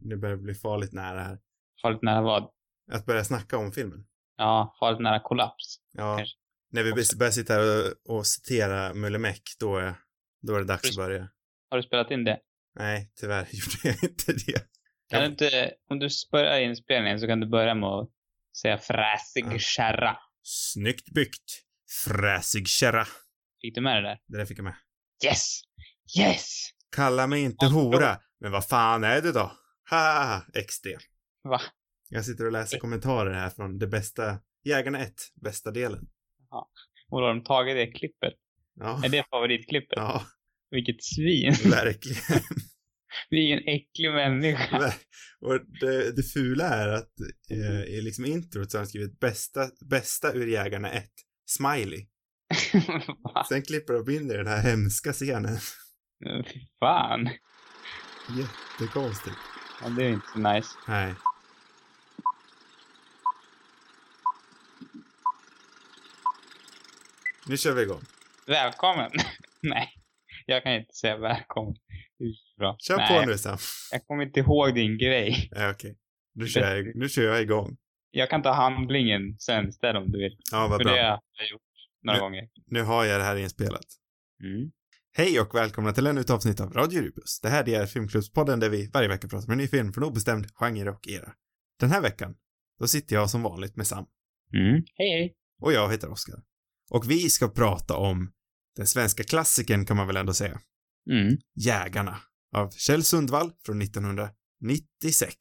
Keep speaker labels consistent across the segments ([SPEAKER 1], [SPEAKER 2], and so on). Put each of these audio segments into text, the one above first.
[SPEAKER 1] nu börjar det bli farligt nära här.
[SPEAKER 2] Farligt nära vad?
[SPEAKER 1] Att börja snacka om filmen.
[SPEAKER 2] Ja, farligt nära kollaps.
[SPEAKER 1] Ja.
[SPEAKER 2] Kanske.
[SPEAKER 1] När vi börjar sitta här och, och citera Mulle Meck, då är, då är det dags att
[SPEAKER 2] Precis.
[SPEAKER 1] börja.
[SPEAKER 2] Har du spelat in det?
[SPEAKER 1] Nej, tyvärr gjorde jag inte det. Ja.
[SPEAKER 2] Kan du inte, om du börjar inspelningen så kan du börja med att säga fräsig
[SPEAKER 1] Ja.
[SPEAKER 2] kärra.
[SPEAKER 1] Snyggt byggt. Fräsig kärra.
[SPEAKER 2] Fick du med det där?
[SPEAKER 1] Det där fick jag med.
[SPEAKER 2] Yes! Yes!
[SPEAKER 1] Kalla mig inte
[SPEAKER 2] Ja,
[SPEAKER 1] hora, men vad fan är det då? Ha, XD.
[SPEAKER 2] Va?
[SPEAKER 1] Jag sitter och läser kommentarer här från det bästa, Jägarna 1, bästa delen.
[SPEAKER 2] Och då har de tagit det klippet.
[SPEAKER 1] Ja,
[SPEAKER 2] Är det favoritklippet?
[SPEAKER 1] ja
[SPEAKER 2] Vilket svin.
[SPEAKER 1] verkligen.
[SPEAKER 2] Vilken äcklig människa.
[SPEAKER 1] Och det, det fula är att eh, i liksom introt så har han skrivit bästa, bästa ur Jägarna 1, smiley.
[SPEAKER 2] Va?
[SPEAKER 1] Sen klipper de in det i den här hemska scenen.
[SPEAKER 2] Fy fan.
[SPEAKER 1] Jättekonstigt.
[SPEAKER 2] Ja, det är inte så nice.
[SPEAKER 1] Nej. Nu kör vi igång.
[SPEAKER 2] Välkommen. Nej, jag kan inte säga välkommen. Det är så bra.
[SPEAKER 1] Kör
[SPEAKER 2] Nej,
[SPEAKER 1] på nu Sam.
[SPEAKER 2] Jag kommer inte ihåg din grej.
[SPEAKER 1] Ja, okej. Nu, kör jag, nu kör jag igång.
[SPEAKER 2] Jag kan ta handlingen sen istället om du vill.
[SPEAKER 1] Ja, vad
[SPEAKER 2] För det
[SPEAKER 1] bra.
[SPEAKER 2] har jag gjort några
[SPEAKER 1] Nu-
[SPEAKER 2] gånger.
[SPEAKER 1] Nu har jag det här inspelat.
[SPEAKER 2] Mm.
[SPEAKER 1] Hej och välkomna till ännu ett avsnitt av Radio Rubus. Det här är Filmklubbspodden där vi varje vecka pratar om en ny film från obestämd genre och era. Den här veckan, då sitter jag som vanligt med Sam.
[SPEAKER 2] Mm. Hej, hej.
[SPEAKER 1] Och jag heter Oskar. Och vi ska prata om den svenska klassikern kan man väl ändå säga.
[SPEAKER 2] Mm.
[SPEAKER 1] Jägarna av Kjell Sundvall från 1996.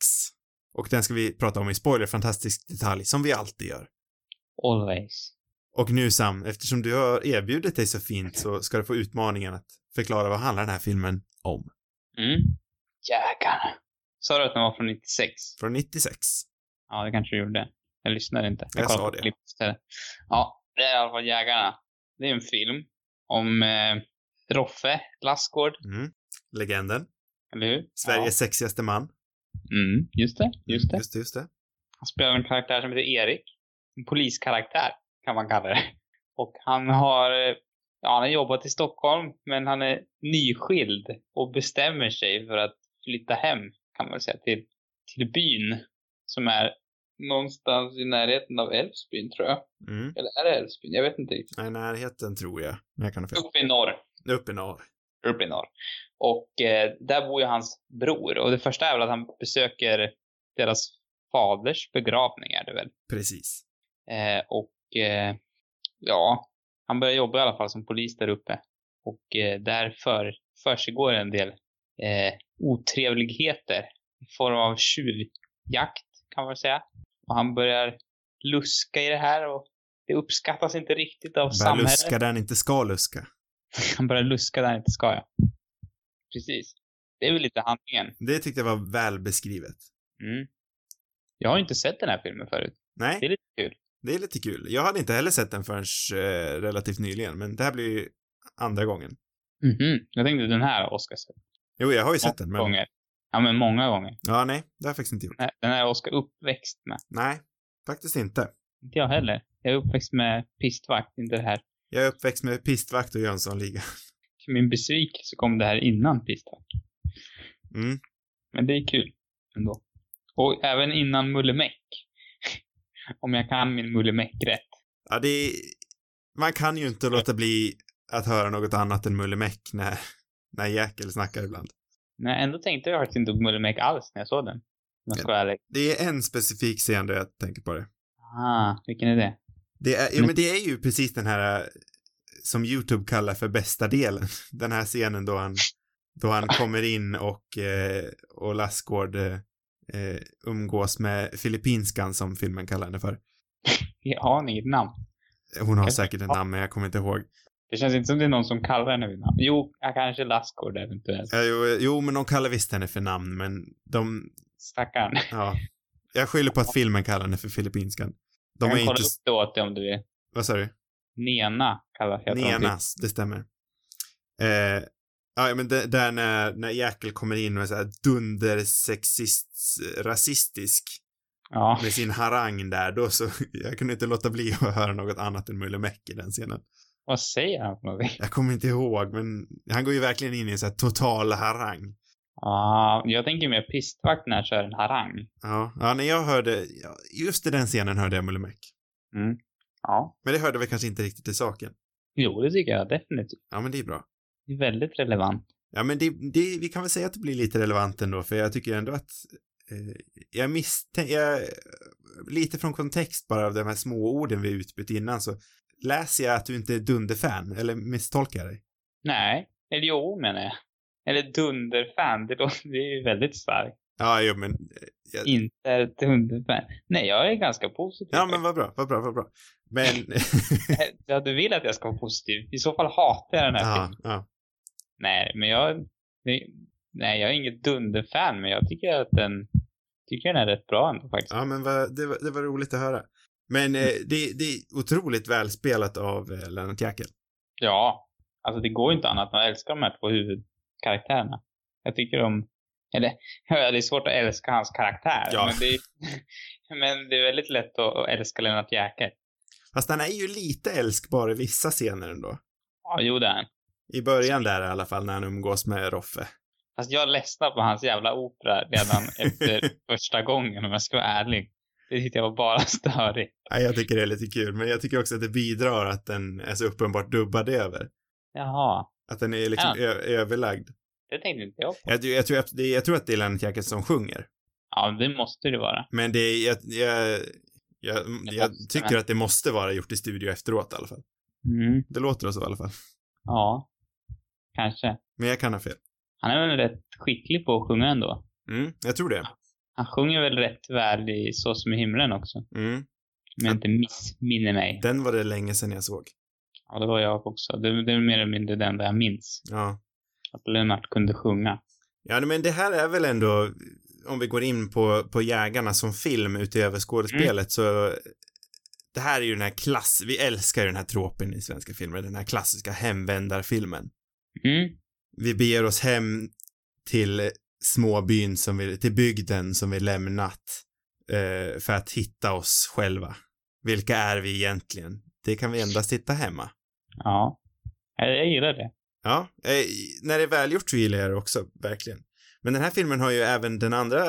[SPEAKER 1] Och den ska vi prata om i spoilerfantastisk detalj som vi alltid gör.
[SPEAKER 2] Always.
[SPEAKER 1] Och nu Sam, eftersom du har erbjudit dig så fint så ska du få utmaningen att förklara vad handlar den här filmen om.
[SPEAKER 2] Mm. Jägarna. Sa du att den var från 96?
[SPEAKER 1] Från 96.
[SPEAKER 2] Ja, det kanske du gjorde. Jag lyssnade inte.
[SPEAKER 1] Jag
[SPEAKER 2] kollade
[SPEAKER 1] sa
[SPEAKER 2] på
[SPEAKER 1] det.
[SPEAKER 2] klipp istället. Ja, det är i alla fall Jägarna. Det är en film om eh, Roffe Lassgård,
[SPEAKER 1] Mm. Legenden.
[SPEAKER 2] eller hur?
[SPEAKER 1] Sveriges sexigaste man.
[SPEAKER 2] Ja. Mm, just det, just det.
[SPEAKER 1] Just det, just det.
[SPEAKER 2] Han spelar en karaktär som heter Erik. En poliskaraktär, kan man kalla det. Och han har, eh, ja, han har jobbat i Stockholm, men han är nyskild och bestämmer sig för att flytta hem, kan man säga, till, till byn. Som är någonstans i närheten av Älvsbyn, tror jag.
[SPEAKER 1] Mm.
[SPEAKER 2] Eller är det Älvsbyn? Jag vet inte riktigt.
[SPEAKER 1] Nej, närheten tror jag. Men jag kan ha fel.
[SPEAKER 2] Uppe i norr.
[SPEAKER 1] Uppe i norr.
[SPEAKER 2] Uppe i norr. Och eh, där bor ju hans bror. Och det första är väl att han besöker deras faders begravning är det väl.
[SPEAKER 1] Precis.
[SPEAKER 2] Eh, och eh, ja, han börjar jobba i alla fall som polis där uppe. Och eh, där för, försiggår en del eh, otrevligheter i form av tjuvjakt kan man säga. Och han börjar luska i det här och det uppskattas inte riktigt av
[SPEAKER 1] Bär
[SPEAKER 2] samhället.
[SPEAKER 1] luska där han inte ska luska.
[SPEAKER 2] Han börjar luska där han inte ska, ja. Precis. Det är väl lite handlingen.
[SPEAKER 1] Det tyckte jag var väl beskrivet.
[SPEAKER 2] Mm. Jag har ju inte sett den här filmen förut.
[SPEAKER 1] Nej.
[SPEAKER 2] Det är lite kul.
[SPEAKER 1] Det är lite kul. Jag hade inte heller sett den förrän eh, relativt nyligen, men det här blir ju andra gången.
[SPEAKER 2] Mhm. Jag tänkte den här har Oscar sett.
[SPEAKER 1] Jo, jag har ju sett den,
[SPEAKER 2] många
[SPEAKER 1] men...
[SPEAKER 2] gånger. Ja, men många gånger.
[SPEAKER 1] Ja, nej, det har jag faktiskt inte gjort.
[SPEAKER 2] Nej, Den är Oscar uppväxt med.
[SPEAKER 1] Nej, faktiskt inte.
[SPEAKER 2] Inte jag heller. Jag är uppväxt med Pistvakt, inte det här.
[SPEAKER 1] Jag är uppväxt med pistvakt och Jönssonliga.
[SPEAKER 2] Till min besvikelse kom det här innan Pistvakt.
[SPEAKER 1] Mm.
[SPEAKER 2] Men det är kul ändå. Och även innan Mulle Meck. Om jag kan min Mulle Meck rätt.
[SPEAKER 1] Ja, det är... Man kan ju inte låta bli att höra något annat än Mulle Meck när, när Jäkel snackar ibland.
[SPEAKER 2] Nej, ändå tänkte jag faktiskt inte på Mulle Meck alls när jag såg den. Om jag ska vara ärlig.
[SPEAKER 1] Det är en specifik scen där jag tänker på det.
[SPEAKER 2] Ah, vilken är det?
[SPEAKER 1] Det är, jo, men det är ju precis den här eh, som YouTube kallar för bästa delen. Den här scenen då han, då han kommer in och, eh, och Lassgård eh, eh, umgås med filippinskan som filmen kallar henne för.
[SPEAKER 2] Jag har inget namn.
[SPEAKER 1] Hon har säkert ett namn men jag kommer inte ihåg.
[SPEAKER 2] Det känns inte som det är någon som kallar henne vid namn. Jo, ja, kanske Lassgård eventuellt.
[SPEAKER 1] Ja, jo, eh, jo, men de kallar visst henne för namn men de,
[SPEAKER 2] Stackarn.
[SPEAKER 1] ja. Jag skyller på att filmen kallar henne för filippinskan. De
[SPEAKER 2] jag
[SPEAKER 1] är
[SPEAKER 2] kan kolla
[SPEAKER 1] inte,
[SPEAKER 2] upp det åt dig om du vill.
[SPEAKER 1] vad sa du?
[SPEAKER 2] Nena kallas jag.
[SPEAKER 1] Nenas, det stämmer. Eh, ja, men det, där när, när Jäkel kommer in och är såhär dundersexist, rasistisk
[SPEAKER 2] Ja,
[SPEAKER 1] med sin harang där, då så, jag kunde inte låta bli att höra något annat än Mulle Meck i den scenen.
[SPEAKER 2] vad säger han för någonting?
[SPEAKER 1] Jag kommer inte ihåg, men han går ju verkligen in i en såhär total harang.
[SPEAKER 2] Ah, jag tänker mer pistvakt när jag kör en harang.
[SPEAKER 1] Ja, ja när jag hörde, ja, just i den scenen hörde jag Mulle Mac.
[SPEAKER 2] Ja.
[SPEAKER 1] Men det hörde väl kanske inte riktigt till saken.
[SPEAKER 2] Jo, det tycker jag definitivt.
[SPEAKER 1] Ja, men det är bra.
[SPEAKER 2] Det är väldigt relevant.
[SPEAKER 1] Ja, men det, det, vi kan väl säga att det blir lite relevant ändå, för jag tycker ändå att eh, jag misstänker, lite från kontext bara av de här små orden vi utbytt innan så läser jag att du inte är dunderfan, eller misstolkar dig.
[SPEAKER 2] Nej. Eller jo, menar jag. Eller dunderfan. Det, låter, det är ju väldigt starkt.
[SPEAKER 1] Ja, jo, men, eh,
[SPEAKER 2] Inte ett dunderfan. Nej, jag är ganska positiv.
[SPEAKER 1] ja, men vad bra, vad bra, vad bra. Men,
[SPEAKER 2] faktiskt. Ja, du vill att jag ska vara positiv. I så fall hatar jag den här filmen.
[SPEAKER 1] ja, ja,
[SPEAKER 2] Nej, men jag... Nej, jag är inget dunderfan, men jag tycker att den... Tycker den är rätt bra ändå faktiskt.
[SPEAKER 1] ja, men vad, det, var, det var roligt att höra. Men eh, det, det är otroligt välspelat av eh, Lennart Jäkel.
[SPEAKER 2] Ja, alltså det går ju inte annat än att älska de här två huvudkaraktärerna. Jag tycker de... Eller, ja, det är svårt att älska hans karaktär.
[SPEAKER 1] Ja.
[SPEAKER 2] Men, det är, men det är väldigt lätt att, att älska Lennart Jäkel.
[SPEAKER 1] Fast han är ju lite älskbar i vissa scener ändå.
[SPEAKER 2] Ja, jo det är han.
[SPEAKER 1] I början där i alla fall, när han umgås med Roffe.
[SPEAKER 2] Fast jag ledsnade på hans jävla opera redan efter första gången om jag ska vara ärlig. Det tyckte jag var bara störigt.
[SPEAKER 1] Ja, jag tycker det är lite kul, men jag tycker också att det bidrar att den är så uppenbart dubbad över.
[SPEAKER 2] Jaha,
[SPEAKER 1] Att den är liksom ö- överlagd.
[SPEAKER 2] det tänkte inte jag på.
[SPEAKER 1] Jag, jag, tror, att det, jag tror att det är Lennart Jäkel som sjunger,
[SPEAKER 2] Ja, det måste det vara.
[SPEAKER 1] men det är, jag, jag, jag, jag tycker att det måste vara gjort i studio efteråt i alla fall.
[SPEAKER 2] Mm,
[SPEAKER 1] Det låter så i alla fall.
[SPEAKER 2] ja, kanske.
[SPEAKER 1] Men jag kan ha fel.
[SPEAKER 2] Han är väl rätt skicklig på att sjunga ändå.
[SPEAKER 1] Mm, jag tror det.
[SPEAKER 2] Han sjunger väl rätt väl i Så som i himlen också.
[SPEAKER 1] Mm.
[SPEAKER 2] Om jag inte missminner mig.
[SPEAKER 1] Den var det länge sedan jag såg.
[SPEAKER 2] Ja, det var jag också. Det, det är mer eller mindre det enda jag minns.
[SPEAKER 1] Ja.
[SPEAKER 2] Att Lennart kunde sjunga.
[SPEAKER 1] Ja, men det här är väl ändå, om vi går in på, på jägarna som film utöver skådespelet, så det här är ju den här klass, vi älskar ju den här tråpen i svenska filmer, den här klassiska hemvändarfilmen.
[SPEAKER 2] Mm,
[SPEAKER 1] Vi beger oss hem till småbyn som vi, till bygden som vi lämnat eh, för att hitta oss själva. Vilka är vi egentligen? Det kan vi endast hitta hemma.
[SPEAKER 2] ja. Jag, jag gillar det.
[SPEAKER 1] Ja, eh, när det är välgjort så gillar jag det också, verkligen. Men den här filmen har ju även den andra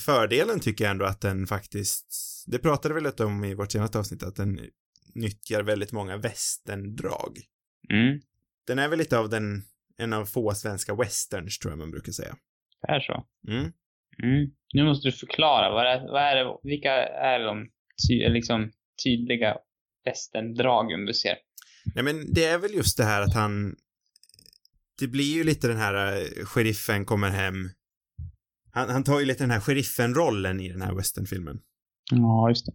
[SPEAKER 1] fördelen tycker jag ändå att den faktiskt, det pratade vi lite om i vårt senaste avsnitt, att den nyttjar väldigt många västerndrag.
[SPEAKER 2] Mm,
[SPEAKER 1] Den är väl lite av den, en av få svenska westerns tror jag man brukar säga.
[SPEAKER 2] det är så.
[SPEAKER 1] Mm.
[SPEAKER 2] Mm. Nu måste du förklara. Vad är, vad är det, vilka är de ty, liksom, tydliga västerndragen du ser?
[SPEAKER 1] Nej men det är väl just det här att han, det blir ju lite den här eh, sheriffen kommer hem, han, han tar ju lite den här sheriffen-rollen i den här westernfilmen.
[SPEAKER 2] Ja, just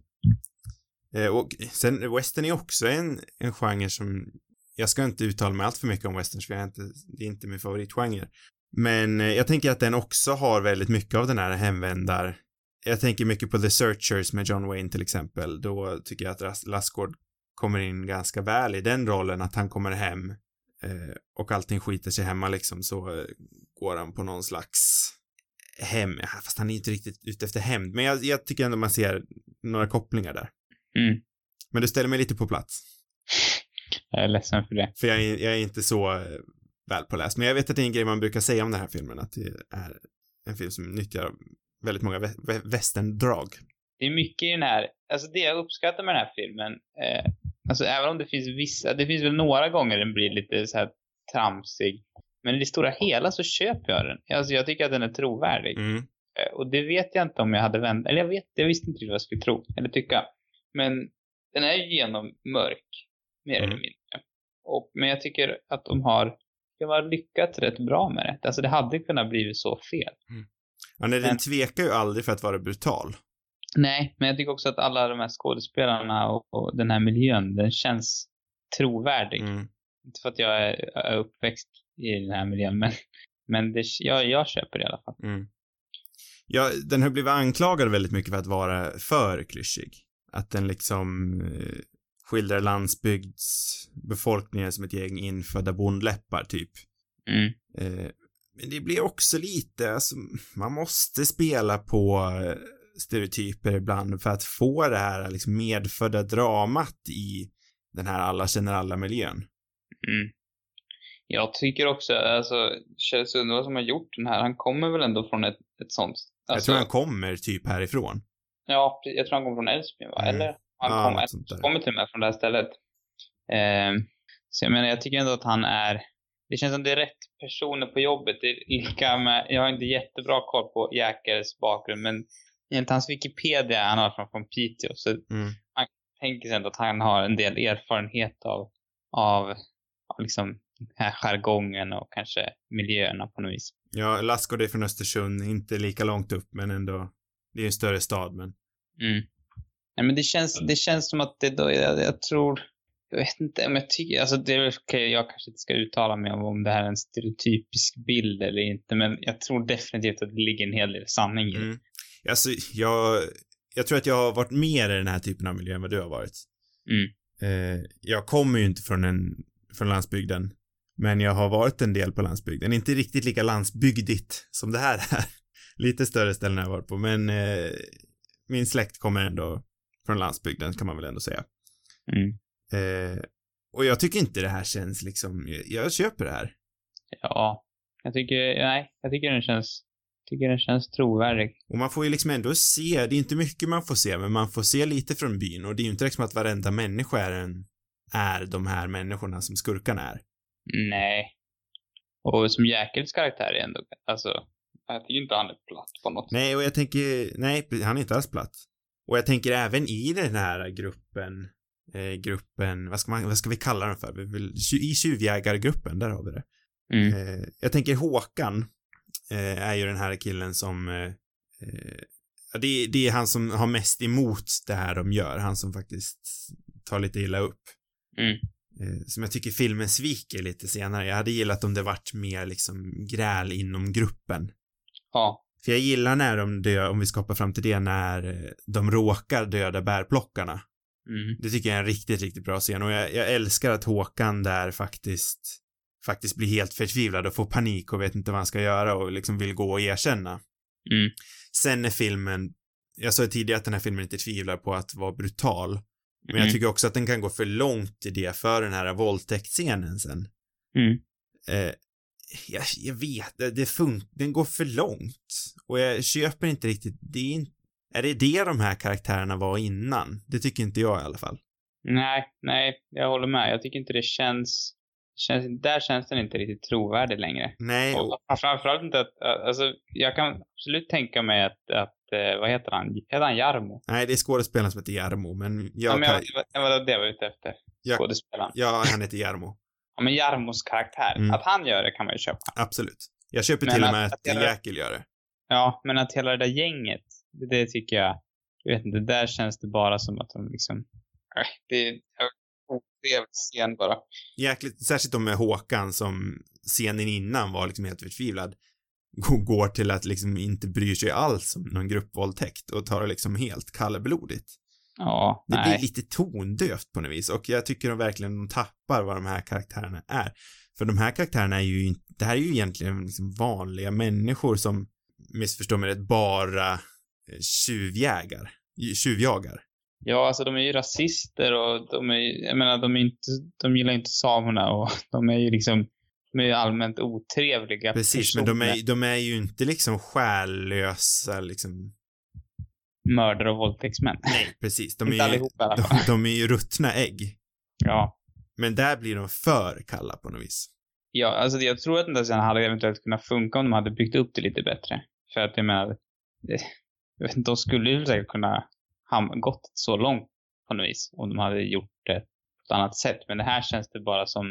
[SPEAKER 2] det.
[SPEAKER 1] Eh, och sen western är också en, en genre som, jag ska inte uttala mig allt för mycket om westerns, för jag är inte, det är inte min favoritgenre. Men eh, jag tänker att den också har väldigt mycket av den här hemvändar, jag tänker mycket på The Searchers med John Wayne till exempel, då tycker jag att Ras- Lassgård kommer in ganska väl i den rollen att han kommer hem eh, och allting skiter sig hemma liksom så eh, går han på någon slags hem, Ja, fast han är inte riktigt ute efter hämnd, men jag, jag tycker ändå man ser några kopplingar där.
[SPEAKER 2] Mm.
[SPEAKER 1] Men du ställer mig lite på plats.
[SPEAKER 2] Jag är ledsen för det.
[SPEAKER 1] För jag är, jag är inte så eh, väl påläst. Men jag vet att det är en grej man brukar säga om den här filmen, att det är en film som nyttjar väldigt många vä- vä- västerndrag.
[SPEAKER 2] det är mycket i den här, alltså det jag uppskattar med den här filmen, eh, alltså även om det finns vissa, det finns väl några gånger den blir lite så här tramsig, men i det stora hela så köper jag den. Alltså jag tycker att den är trovärdig.
[SPEAKER 1] Mm.
[SPEAKER 2] Eh, och det vet jag inte om jag hade vänt, eller jag vet, jag visste inte riktigt vad jag skulle tro, eller tycka. Men den är ju genom mörk, mer
[SPEAKER 1] Mm.
[SPEAKER 2] eller mindre. Och, men jag tycker att de har, de har lyckats rätt bra med det. Alltså det hade kunnat blivit så fel.
[SPEAKER 1] Ja, nej, den
[SPEAKER 2] Men-
[SPEAKER 1] tvekar ju aldrig för att vara brutal.
[SPEAKER 2] Nej, men jag tycker också att alla de här skådespelarna och, och den här miljön, den känns trovärdig.
[SPEAKER 1] Mm.
[SPEAKER 2] Inte för att jag är, är uppväxt i den här miljön, men, men det, jag, jag köper det i alla fall.
[SPEAKER 1] Mm. Ja, den har blivit anklagad väldigt mycket för att vara för klyschig. Att den liksom eh, skildrar landsbygdsbefolkningen som ett gäng infödda bondläppar, typ.
[SPEAKER 2] Mm.
[SPEAKER 1] Eh, men det blir också lite, alltså, man måste spela på eh, stereotyper ibland för att få det här liksom medfödda dramat i den här alla känner alla miljön.
[SPEAKER 2] Mm. Jag tycker också, alltså Kjell Sundvall som har gjort den här, han kommer väl ändå från ett, ett sånt...
[SPEAKER 1] Jag
[SPEAKER 2] Alltså,
[SPEAKER 1] tror han kommer typ härifrån.
[SPEAKER 2] Ja, pre- jag tror han kommer från Älvsbyn va?
[SPEAKER 1] Mm.
[SPEAKER 2] Eller? Han
[SPEAKER 1] Ja,
[SPEAKER 2] kommer,
[SPEAKER 1] något sånt där.
[SPEAKER 2] kommer till och med från det här stället. Ehm, så jag menar, jag tycker ändå att han är... Det känns som det är rätt personer på jobbet. Det är lika med, jag har inte jättebra koll på Jäkers bakgrund, men enligt hans Wikipedia är han i alla fall från Piteå. Så
[SPEAKER 1] Mm.
[SPEAKER 2] man tänker sig ändå att han har en del erfarenhet av, av, av liksom den här jargongen och kanske miljöerna på något vis.
[SPEAKER 1] Ja, Lassgård är från Östersund, inte lika långt upp, men ändå. Det är ju en större stad, men.
[SPEAKER 2] Mm. Nej, men det känns, det känns som att det då, jag, jag tror, jag vet inte om jag tycker, alltså det är väl okej, jag kanske inte ska uttala mig om, om det här är en stereotypisk bild eller inte, men jag tror definitivt att det ligger en hel del sanning i det.
[SPEAKER 1] Mm. Alltså, jag, jag tror att jag har varit mer i den här typen av miljö än vad du har varit.
[SPEAKER 2] Mm.
[SPEAKER 1] Eh, jag kommer ju inte från, en, från landsbygden, men jag har varit en del på landsbygden. Inte riktigt lika landsbygdigt som det här är. Lite större ställen jag har varit på, men eh, min släkt kommer ändå från landsbygden kan man väl ändå säga.
[SPEAKER 2] Mm.
[SPEAKER 1] Eh, och jag tycker inte det här känns liksom, jag, jag köper det här.
[SPEAKER 2] Ja, jag tycker, nej, jag tycker den känns, tycker den känns trovärdig.
[SPEAKER 1] Och man får ju liksom ändå se, det är inte mycket man får se, men man får se lite från byn och det är ju inte liksom att varenda människa är en, är de här människorna som skurkarna är.
[SPEAKER 2] Nej. Och som Jäkels karaktär är ändå, alltså, jag tycker inte han är platt på något sätt.
[SPEAKER 1] Nej, och jag tänker, nej, han är inte alls platt. Och jag tänker även i den här gruppen, eh, gruppen, vad ska man, vad ska vi kalla den för? Vi vill, tju- I tjuvjägargruppen, där har vi det.
[SPEAKER 2] Mm.
[SPEAKER 1] Eh, jag tänker Håkan eh, är ju den här killen som eh, eh, ja, det, är- det är han som har mest emot det här de gör, han som faktiskt tar lite illa upp.
[SPEAKER 2] Mm.
[SPEAKER 1] Eh, som jag tycker filmen sviker lite senare. Jag hade gillat om det varit mer liksom gräl inom gruppen.
[SPEAKER 2] Ja.
[SPEAKER 1] För jag gillar när de dö, om vi ska hoppa fram till det, när eh, de råkar döda bärplockarna.
[SPEAKER 2] Mm.
[SPEAKER 1] Det tycker jag är en riktigt, riktigt bra scen och jag, jag älskar att Håkan där faktiskt faktiskt blir helt förtvivlad och får panik och vet inte vad han ska göra och liksom vill gå och erkänna.
[SPEAKER 2] Mm.
[SPEAKER 1] Sen är filmen, jag sa ju tidigare att den här filmen inte tvivlar på att vara brutal, men jag
[SPEAKER 2] Mm.
[SPEAKER 1] tycker också att den kan gå för långt i det för den här våldtäktsscenen sen.
[SPEAKER 2] Mm.
[SPEAKER 1] Eh, jag, jag vet, det, det funkar, den går för långt och jag köper inte riktigt, det är inte är det det de här karaktärerna var innan? Det tycker inte jag i alla fall.
[SPEAKER 2] Nej, nej, jag håller med. Jag tycker inte det känns... känns där känns den inte riktigt trovärdig längre.
[SPEAKER 1] Nej, och,
[SPEAKER 2] Och framförallt inte att... Alltså, jag kan absolut tänka mig att... att eh, vad heter han? Heter han Jarmo?
[SPEAKER 1] nej det är skådespelaren som heter Jarmo, men jag,
[SPEAKER 2] Ja, men
[SPEAKER 1] kan-
[SPEAKER 2] jag, det var det jag var ute efter.
[SPEAKER 1] Jag-
[SPEAKER 2] Skådespelaren.
[SPEAKER 1] ja, han heter Jarmo.
[SPEAKER 2] Ja, men Jarmos karaktär.
[SPEAKER 1] Mm.
[SPEAKER 2] Att han gör det kan man ju köpa.
[SPEAKER 1] Absolut. Jag köper
[SPEAKER 2] Men
[SPEAKER 1] till och
[SPEAKER 2] att-
[SPEAKER 1] med att,
[SPEAKER 2] att jag-
[SPEAKER 1] Jäkel gör det.
[SPEAKER 2] Ja, men att hela det där gänget, det, det tycker jag... Jag vet inte, där känns det bara som att de liksom... Äh, det är en otrevlig scen bara.
[SPEAKER 1] Jäkligt, särskilt då med Håkan som scenen innan var liksom helt förtvivlad. G- Går till att liksom inte bryr sig alls om någon gruppvåldtäkt och tar det liksom helt kallblodigt.
[SPEAKER 2] Ja,
[SPEAKER 1] Det
[SPEAKER 2] nej.
[SPEAKER 1] blir lite tondövt på något vis och jag tycker de verkligen de tappar vad de här karaktärerna är. För de här karaktärerna är ju inte, det här är ju egentligen liksom vanliga människor som, missförstå mig rätt, bara eh, tjuvjägar, ju- tjuvjagar.
[SPEAKER 2] Ja, alltså de är ju rasister och de är ju- jag menar, de, är inte, de gillar inte samerna och de är ju liksom, de är ju allmänt otrevliga
[SPEAKER 1] Precis, men
[SPEAKER 2] personer.
[SPEAKER 1] de är, de är ju inte liksom själlösa liksom.
[SPEAKER 2] Mördare och våldtäktsmän.
[SPEAKER 1] Nej, precis. De
[SPEAKER 2] inte
[SPEAKER 1] är ju,
[SPEAKER 2] allihopa i alla fall.
[SPEAKER 1] de, de är ju ruttna ägg.
[SPEAKER 2] Ja.
[SPEAKER 1] Men där blir de för kalla på något vis.
[SPEAKER 2] ja, alltså jag tror att den där scenen hade eventuellt kunnat funka om de hade byggt upp det lite bättre. För att jag menar, det- jag vet inte, de skulle ju säkert kunna ham- gått så långt på något vis om de hade gjort det på ett annat sätt. Men det här känns det bara som,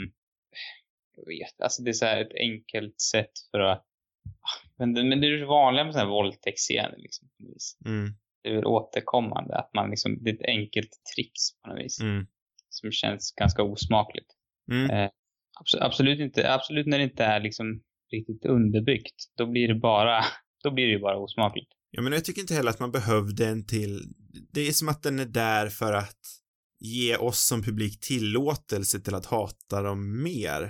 [SPEAKER 2] jag vet, alltså det är så här ett enkelt sätt för att ah, men det, men det är ju det vanliga med sådana här våldtäktsscener liksom. På något vis.
[SPEAKER 1] Mm,
[SPEAKER 2] Det är väl återkommande att man liksom, det är ett enkelt trix på något vis.
[SPEAKER 1] mm,
[SPEAKER 2] Som känns ganska osmakligt.
[SPEAKER 1] mm.
[SPEAKER 2] Abs- absolut inte, absolut när det inte är liksom riktigt underbyggt. Då blir det bara, då blir det ju bara osmakligt.
[SPEAKER 1] Ja, men jag tycker inte heller att man behövde en till. Det är som att den är där för att ge oss som publik tillåtelse till att hata dem mer.
[SPEAKER 2] Mm.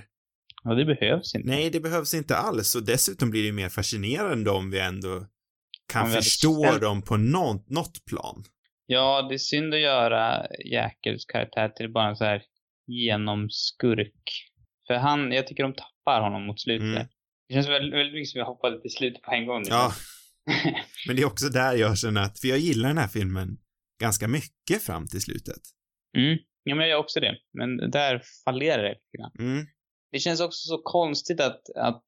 [SPEAKER 2] Och det behövs inte.
[SPEAKER 1] Nej, det behövs inte alls och dessutom blir det ju mer fascinerande om vi ändå
[SPEAKER 2] Om
[SPEAKER 1] kan
[SPEAKER 2] vi hade
[SPEAKER 1] förstå
[SPEAKER 2] ställt- Mm.
[SPEAKER 1] dem på något, något plan.
[SPEAKER 2] Ja, det är synd att göra Jäkels karaktär till bara en så här genomskurk. För han, jag tycker de tappar honom mot slutet.
[SPEAKER 1] Mm.
[SPEAKER 2] Det känns väldigt, väldigt mycket som jag hoppade till slutet på en gång. liksom.
[SPEAKER 1] Ja. Men det är också där jag känner att, för jag gillar den här filmen ganska mycket fram till slutet.
[SPEAKER 2] Mm. Ja, men jag gör också det. Men där fallerar det lite grann.
[SPEAKER 1] Mm.
[SPEAKER 2] Det känns också så konstigt att, att,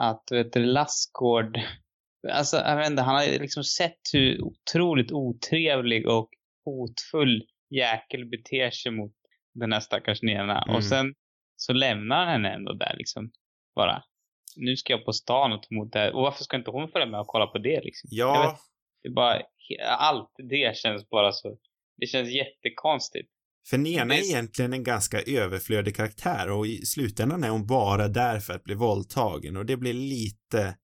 [SPEAKER 2] att vet du, Lassgård, alltså jag vet inte, han har ju liksom sett hur otroligt otrevlig och hotfull jäkel beter sig mot den här stackars Nena.
[SPEAKER 1] Mm.
[SPEAKER 2] Och sen så lämnar han henne ändå där liksom. Bara, nu ska jag på stan och ta emot det här. Och varför ska inte hon följa med och kolla på det liksom? Jag
[SPEAKER 1] Ja,
[SPEAKER 2] vet. Det är bara, he- allt det känns bara så, det känns jättekonstigt.
[SPEAKER 1] för Nena är
[SPEAKER 2] Visst.
[SPEAKER 1] egentligen en ganska överflödig karaktär och i slutändan är hon bara där för att bli våldtagen och det blir lite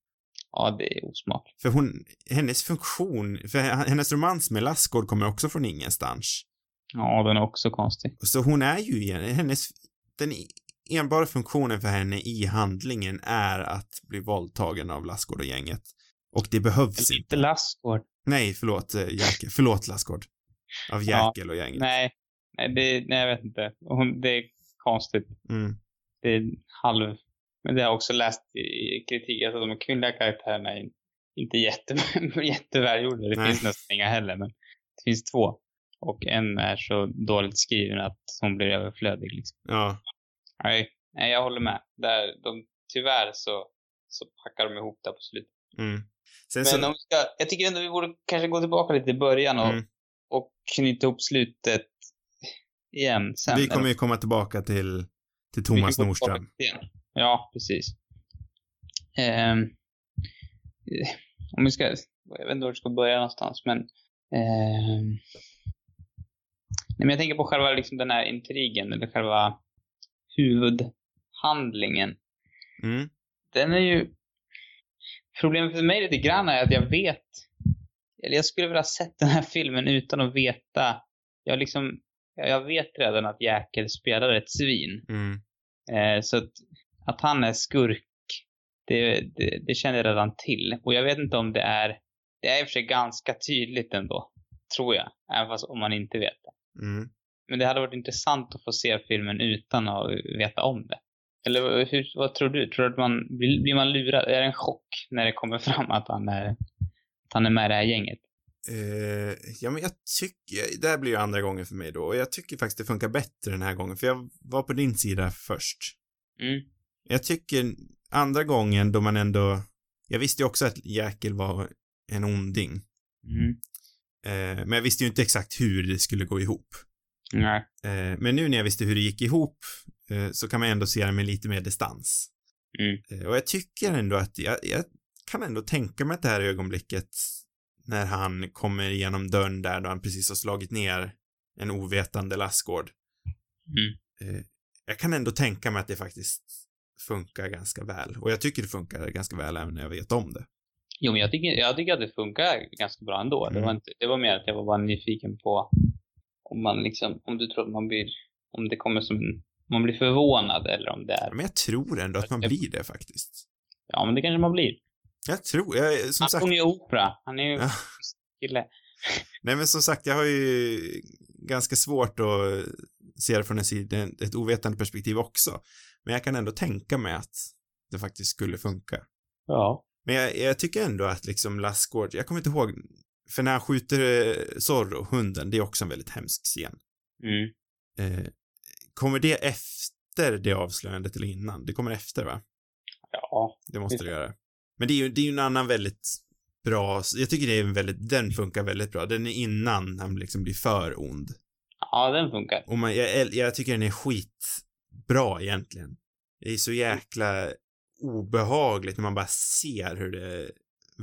[SPEAKER 2] Ja, det är osmakligt.
[SPEAKER 1] För hon, hennes funktion, för hennes romans med Lassgård kommer också från ingenstans.
[SPEAKER 2] Ja, den är också konstig.
[SPEAKER 1] Så hon är ju, igen- hennes, den e-, enbara funktionen för henne i handlingen är att bli våldtagen av Lassgård och gänget. Och det behövs inte.
[SPEAKER 2] Inte Lassgård.
[SPEAKER 1] Nej, förlåt, eh, Jäkel. Förlåt Lassgård. Av
[SPEAKER 2] Ja,
[SPEAKER 1] Jäkel och gänget.
[SPEAKER 2] Nej, nej, det, nej, jag vet inte. Hon, det är konstigt.
[SPEAKER 1] Mm.
[SPEAKER 2] Det är halv... Men det har jag också läst i i kritik, alltså de kvinnliga karaktärerna är inte jätte, jättevälgjorda. Det
[SPEAKER 1] Nej.
[SPEAKER 2] finns nästan inga heller, men det finns två. Och en är så dåligt skriven att hon blir överflödig. Liksom.
[SPEAKER 1] Ja.
[SPEAKER 2] Nej, nej, jag håller med. Där, de, tyvärr så, så packar de ihop det på slutet.
[SPEAKER 1] Mm. Sen
[SPEAKER 2] Men
[SPEAKER 1] så,
[SPEAKER 2] om vi ska, jag tycker ändå vi borde kanske gå tillbaka lite i början och,
[SPEAKER 1] Mm.
[SPEAKER 2] och knyta ihop slutet igen sen.
[SPEAKER 1] vi kommer ju komma tillbaka till, till
[SPEAKER 2] Eller-
[SPEAKER 1] Thomas
[SPEAKER 2] vi går tillbaka
[SPEAKER 1] Nordström.
[SPEAKER 2] till det. Ja, precis. Ehm, eh, om vi ska, jag vet inte var vi ska börja någonstans, men ehm, nej, men jag tänker på själva liksom den här intrigen, eller själva huvudhandlingen
[SPEAKER 1] Mm.
[SPEAKER 2] den är ju... Problemet för mig lite grann är att jag vet... Eller jag skulle vilja ha sett den här filmen utan att veta... Jag liksom... jag- Jag vet redan att Jäkel spelar ett svin.
[SPEAKER 1] Mm.
[SPEAKER 2] Eh, så att, att han är skurk, det, det, det känner jag redan till. Och jag vet inte om det är... Det är i och för sig ganska tydligt ändå, tror jag. Även fast om man inte vet det.
[SPEAKER 1] Mm.
[SPEAKER 2] Men det hade varit intressant att få se filmen utan att veta om det. Eller hur, vad tror du? Tror du att man blir blir man lurad? Är det en chock när det kommer fram att han är, att han är med i det här gänget?
[SPEAKER 1] Eh, ja, men jag tycker, det här blir ju andra gången för mig då, och jag tycker faktiskt det funkar bättre den här gången, för jag var på din sida först.
[SPEAKER 2] Mm.
[SPEAKER 1] Jag tycker andra gången då man ändå, jag visste ju också att Jäkel var en onding,
[SPEAKER 2] Mm.
[SPEAKER 1] eh, men jag visste ju inte exakt hur det skulle gå ihop.
[SPEAKER 2] Nej.
[SPEAKER 1] Eh, men nu när jag visste hur det gick ihop eh, så kan man ändå se det med lite mer distans.
[SPEAKER 2] Mm.
[SPEAKER 1] Eh, och jag tycker ändå att, jag, jag kan ändå tänka mig att det här ögonblicket när han kommer igenom dörren där då han precis har slagit ner en ovetande lastgård. Eh, jag kan ändå tänka mig att det faktiskt funkar ganska väl. Och jag tycker det funkar ganska väl även när jag vet om det.
[SPEAKER 2] Jo, men jag tycker, jag tycker att det funkar ganska bra ändå. Det,
[SPEAKER 1] Mm.
[SPEAKER 2] var inte, det var mer att jag var bara nyfiken på om man liksom, om du tror att man blir, om det kommer som en, om man blir förvånad eller om det är,
[SPEAKER 1] Men jag tror ändå att man blir det faktiskt.
[SPEAKER 2] ja men det kanske man blir.
[SPEAKER 1] Jag tror, jag, som
[SPEAKER 2] Han
[SPEAKER 1] sagt,
[SPEAKER 2] sjunger ju opera. Han är ju
[SPEAKER 1] Ja.
[SPEAKER 2] kille.
[SPEAKER 1] Nej men som sagt, jag har ju ganska svårt att se det från en sida, ett ovetande perspektiv också. Men jag kan ändå tänka mig att det faktiskt skulle funka.
[SPEAKER 2] Ja.
[SPEAKER 1] Men jag, jag tycker ändå att liksom Lassgård, jag kommer inte ihåg, för när han skjuter eh, Zorro, hunden, det är också en väldigt hemsk scen.
[SPEAKER 2] Mm.
[SPEAKER 1] Eh, kommer det efter det avslöjandet eller innan? Det kommer efter va?
[SPEAKER 2] Ja.
[SPEAKER 1] Det måste
[SPEAKER 2] Just
[SPEAKER 1] det göra. Men det är ju, det är ju en annan väldigt bra, jag tycker det är en väldigt, den funkar väldigt bra. Den är innan han liksom blir för ond.
[SPEAKER 2] Ja, den funkar.
[SPEAKER 1] Och man, jag, äl- jag tycker den är skitbra egentligen. Det är så
[SPEAKER 2] Mm.
[SPEAKER 1] jäkla obehagligt när man bara ser hur det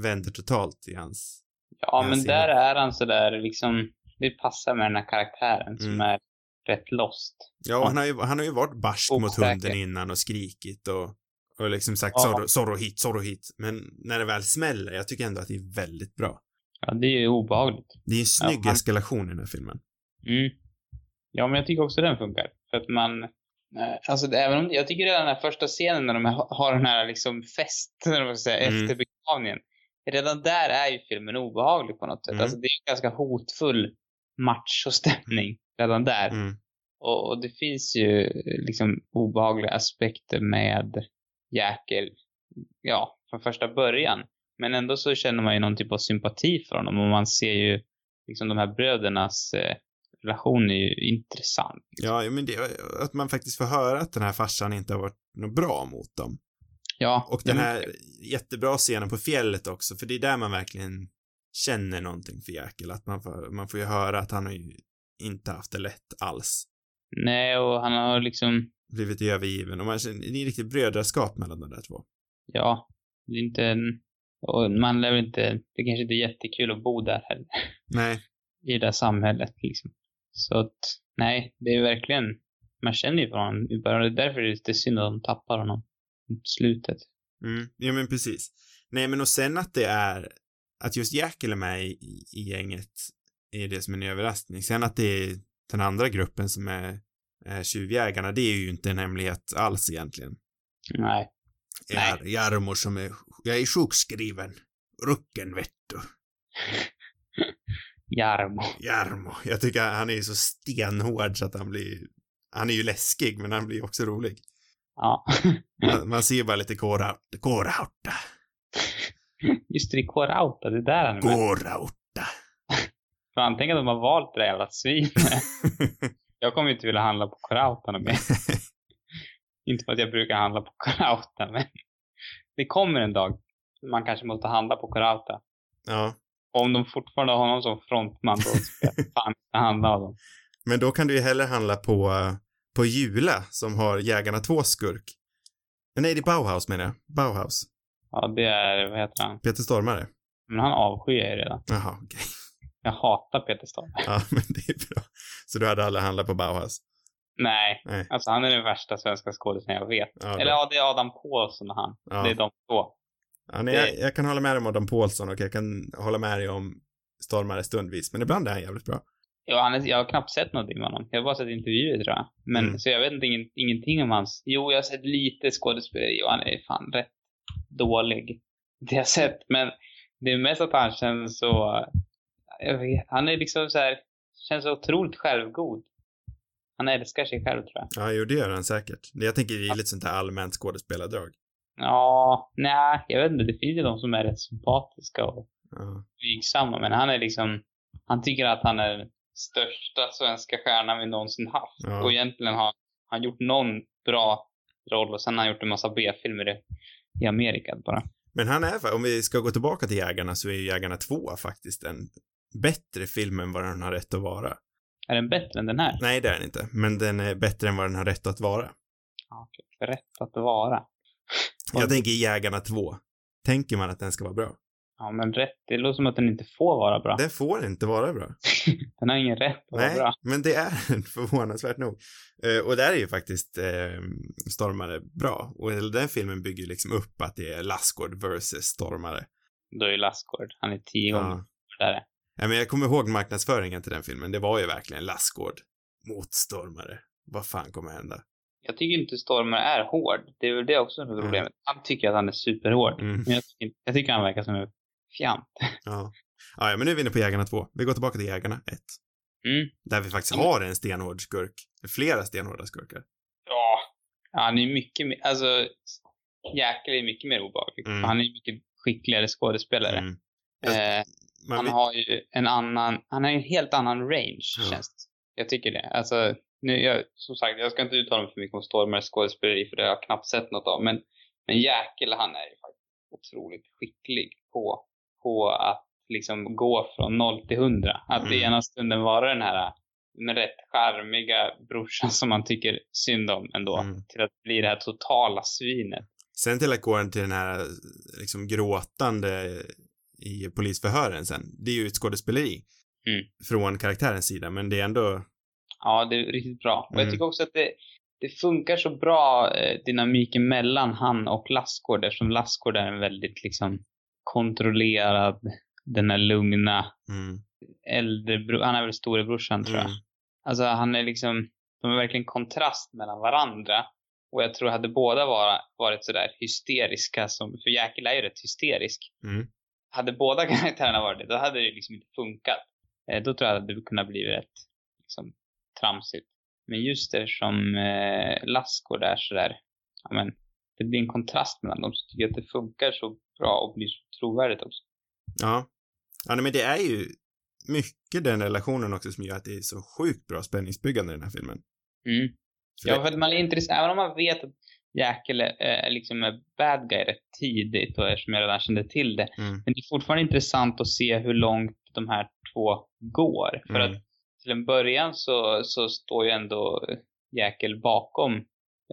[SPEAKER 1] vänder totalt i hans...
[SPEAKER 2] Ja,
[SPEAKER 1] Ja,
[SPEAKER 2] men
[SPEAKER 1] Simon.
[SPEAKER 2] där är han sådär liksom, det passar med den här karaktären som
[SPEAKER 1] Mm.
[SPEAKER 2] är rätt lost.
[SPEAKER 1] Ja, och han har ju, han har ju varit barsk mot
[SPEAKER 2] Osäker.
[SPEAKER 1] hunden innan och skrikit och, och liksom sagt
[SPEAKER 2] Ja.
[SPEAKER 1] sorro, sorro hit, sorro hit. Men när det väl smäller, jag tycker ändå att det är väldigt bra.
[SPEAKER 2] Ja, det är ju obehagligt.
[SPEAKER 1] Det är en snygg
[SPEAKER 2] han-
[SPEAKER 1] eskalation i den här filmen.
[SPEAKER 2] Mm. Ja, men jag tycker också den funkar. För att man, eh, alltså det- även om, jag tycker redan den här första scenen när de ha- har den här liksom festen, eller vad man ska säga,
[SPEAKER 1] Mm.
[SPEAKER 2] efter begravningen. Redan där är ju filmen obehaglig på något sätt.
[SPEAKER 1] Mm.
[SPEAKER 2] Alltså det är ju ganska hotfull machostämning redan där.
[SPEAKER 1] Mm.
[SPEAKER 2] Och, och det finns ju liksom obehagliga aspekter med Jäkel, ja, från första början. Men ändå så känner man ju någon typ av sympati för honom och man ser ju liksom de här brödernas eh, relation är ju intressant.
[SPEAKER 1] Ja, men det, att man faktiskt får höra att den här farsan inte har varit något bra mot dem.
[SPEAKER 2] Ja,
[SPEAKER 1] Och den här jättebra scenen på fjället också, för det är där man verkligen känner någonting för Jäkel, att man får, man får ju höra att han har ju inte haft det lätt alls.
[SPEAKER 2] Nej, och han har liksom,
[SPEAKER 1] Blivit övergiven och man känner, det är riktigt brödraskap mellan de där två.
[SPEAKER 2] ja, det är inte en, och man lär väl inte, det kanske inte är jättekul att bo där heller.
[SPEAKER 1] Nej,
[SPEAKER 2] i det där samhället. Liksom. Så att, nej, det är verkligen, man känner ju för honom i början. Det är därför det är lite synd att de tappar honom mot slutet.
[SPEAKER 1] mm, ja men precis. Nej men och sen att det är, att just Jäkel är med i, i gänget är det som en överraskning. Sen att det är den andra gruppen som är, är tjuvjägarna, det är ju inte en hemlighet alls egentligen.
[SPEAKER 2] Nej. Nej.
[SPEAKER 1] Jar, Jarmo som är, jag är sjukskriven. Rucken vet du.
[SPEAKER 2] Jarmo.
[SPEAKER 1] Jarmo. Jag tycker han är ju så stenhård så att han blir, han är ju läskig men han blir också rolig.
[SPEAKER 2] Ja. Mm.
[SPEAKER 1] Man, man ser ju bara lite kårauta, kårauta,
[SPEAKER 2] Just det, i Korauta, det är där han är med.
[SPEAKER 1] kårauta.
[SPEAKER 2] Fan, tänk att de har valt det där jävla svinet. Jag kommer ju inte vilja handla på Korauta något mer. Inte för att jag brukar handla på Korauta, men det kommer en dag. Man kanske måste handla på Korauta.
[SPEAKER 1] Ja,
[SPEAKER 2] Och om de fortfarande har honom som frontman, då ska jag fan inte handla av dem.
[SPEAKER 1] men då kan du ju hellre handla på, eh, på Jula som har Jägarna 2 skurk. Nej, det är Bauhaus menar jag. Bauhaus.
[SPEAKER 2] Ja, det är, vad heter han?
[SPEAKER 1] Peter Stormare.
[SPEAKER 2] Men han avskyr jag ju redan.
[SPEAKER 1] Jaha, okej.
[SPEAKER 2] Jag hatar Peter Stormare.
[SPEAKER 1] Ja, men det är bra. Så du hade alla handlat på Bauhaus?
[SPEAKER 2] Nej.
[SPEAKER 1] Nej.
[SPEAKER 2] Alltså han är den värsta svenska skådisen jag vet.
[SPEAKER 1] Ja,
[SPEAKER 2] Eller
[SPEAKER 1] bra.
[SPEAKER 2] ja, det är Adam Pålsson och han.
[SPEAKER 1] Ja.
[SPEAKER 2] Det är de två.
[SPEAKER 1] Ja, nej, jag, jag kan hålla med dig om Adam Paulsson och jag kan hålla med dig om stormare stundvis, men ibland är han jävligt bra.
[SPEAKER 2] Ja, han är, jag har knappt sett någonting med honom. Jag har bara sett intervjuer tror jag. Men
[SPEAKER 1] Mm.
[SPEAKER 2] så jag vet inte, ingen, ingenting om hans. Jo, jag har sett lite skådespeleri och han är fan rätt dålig. Det har jag sett. Men det är mest att han känns så... Jag vet, han är liksom så här... Känns så otroligt självgod. Han älskar sig själv tror jag.
[SPEAKER 1] Ja, jo, det gör han säkert. Det- Jag tänker det är lite sånt här allmänt skådespelardrag.
[SPEAKER 2] Ja, nej, jag vet inte. Det finns ju de som är rätt sympatiska och
[SPEAKER 1] Ja.
[SPEAKER 2] blygsamma, men han är liksom, han tycker att han är den största svenska stjärnan vi någonsin haft.
[SPEAKER 1] Ja.
[SPEAKER 2] Och egentligen har han gjort någon bra roll och sen har han gjort en massa B-filmer i, i Amerika bara.
[SPEAKER 1] Men han är, fa- om vi ska gå tillbaka till Jägarna så är ju Jägarna 2 faktiskt en bättre film än vad den har rätt att vara.
[SPEAKER 2] Är den bättre än den här?
[SPEAKER 1] Nej, det är den inte, men den är bättre än vad den har rätt att vara.
[SPEAKER 2] Ja, okej. För Rätt att vara.
[SPEAKER 1] Jag tänker Jägarna 2. Tänker man att den ska vara bra?
[SPEAKER 2] Ja, men rätt, det låter som att den inte får vara bra.
[SPEAKER 1] Den får inte vara bra.
[SPEAKER 2] Den har ingen rätt att vara
[SPEAKER 1] Nej,
[SPEAKER 2] bra.
[SPEAKER 1] men det är den förvånansvärt nog. Eh, och där är ju faktiskt eh, Stormare bra. Och hela den filmen bygger liksom upp att det är Lassgård versus Stormare.
[SPEAKER 2] Då är ju Lassgård, han är tio gånger
[SPEAKER 1] Ja.
[SPEAKER 2] hårdare.
[SPEAKER 1] Ja, men jag kommer ihåg marknadsföringen till den filmen. Det var ju verkligen Lassgård mot Stormare. Vad fan kommer hända?
[SPEAKER 2] Jag tycker inte Stormare är hård. Det är väl det också som är problemet. Han tycker att han är superhård.
[SPEAKER 1] Mm.
[SPEAKER 2] Men jag tycker, inte- jag tycker han verkar som en fjant.
[SPEAKER 1] Ja. ja, ja, men nu är vi inne på Jägarna 2. Vi går tillbaka till Jägarna 1.
[SPEAKER 2] Mm.
[SPEAKER 1] Där vi faktiskt har en stenhård skurk. Flera stenhårda skurkar.
[SPEAKER 2] Ja. Han är mycket mer, alltså Jäkel är mycket mer obehaglig.
[SPEAKER 1] Mm.
[SPEAKER 2] Han är mycket skickligare skådespelare.
[SPEAKER 1] Mm.
[SPEAKER 2] Eh,
[SPEAKER 1] Man
[SPEAKER 2] han
[SPEAKER 1] vet-
[SPEAKER 2] har ju en annan, han har en helt annan range
[SPEAKER 1] Ja.
[SPEAKER 2] känns det. Jag tycker det. Alltså, nu, jag, som sagt, jag ska inte uttala mig för mycket om Stormares skådespeleri för det har jag knappt sett något av. Men, men Jäkel han är ju faktiskt otroligt skicklig på, på att liksom gå från noll till hundra. Att i
[SPEAKER 1] Mm.
[SPEAKER 2] ena stunden vara den här med rätt charmiga brorsan som man tycker synd om ändå.
[SPEAKER 1] Mm.
[SPEAKER 2] Till att bli det här totala svinet.
[SPEAKER 1] Sen till att gå den till den här liksom gråtande i polisförhören sen, det är ju ett skådespeleri
[SPEAKER 2] Mm.
[SPEAKER 1] från karaktärens sida, men det är ändå,
[SPEAKER 2] Ja, det är riktigt bra. Och
[SPEAKER 1] Mm.
[SPEAKER 2] jag tycker också att det, det funkar så bra eh, dynamiken mellan han och Lassgård eftersom Lassgård är en väldigt liksom kontrollerad, den här lugna
[SPEAKER 1] mm,
[SPEAKER 2] äldre, bro- han är väl storebrorsan tror jag.
[SPEAKER 1] Mm.
[SPEAKER 2] Alltså han är liksom, de är verkligen kontrast mellan varandra. Och jag tror hade båda vara, varit sådär hysteriska som, för Jäkel är ju rätt hysterisk.
[SPEAKER 1] Mm.
[SPEAKER 2] Hade båda karaktärerna varit det, då hade det liksom inte funkat. Eh, då tror jag att det kunde ha blivit rätt liksom, tramsigt. Men just eftersom eh, Lassgård är sådär, ja men, det blir en kontrast mellan dem så tycker jag att det funkar så bra och blir så trovärdigt också.
[SPEAKER 1] Ja. Ja, nej, men det är ju mycket den relationen också som gör att det är så sjukt bra spänningsbyggande i den här filmen.
[SPEAKER 2] Mm.
[SPEAKER 1] För
[SPEAKER 2] Ja,
[SPEAKER 1] det-
[SPEAKER 2] för att man är intresserad, även om man vet att Jäkel är, är liksom är bad guy rätt tidigt och eftersom jag redan kände till det.
[SPEAKER 1] Mm.
[SPEAKER 2] Men det är fortfarande intressant att se hur långt de här två går. För
[SPEAKER 1] Mm.
[SPEAKER 2] att till en början så, så står ju ändå Jäkel bakom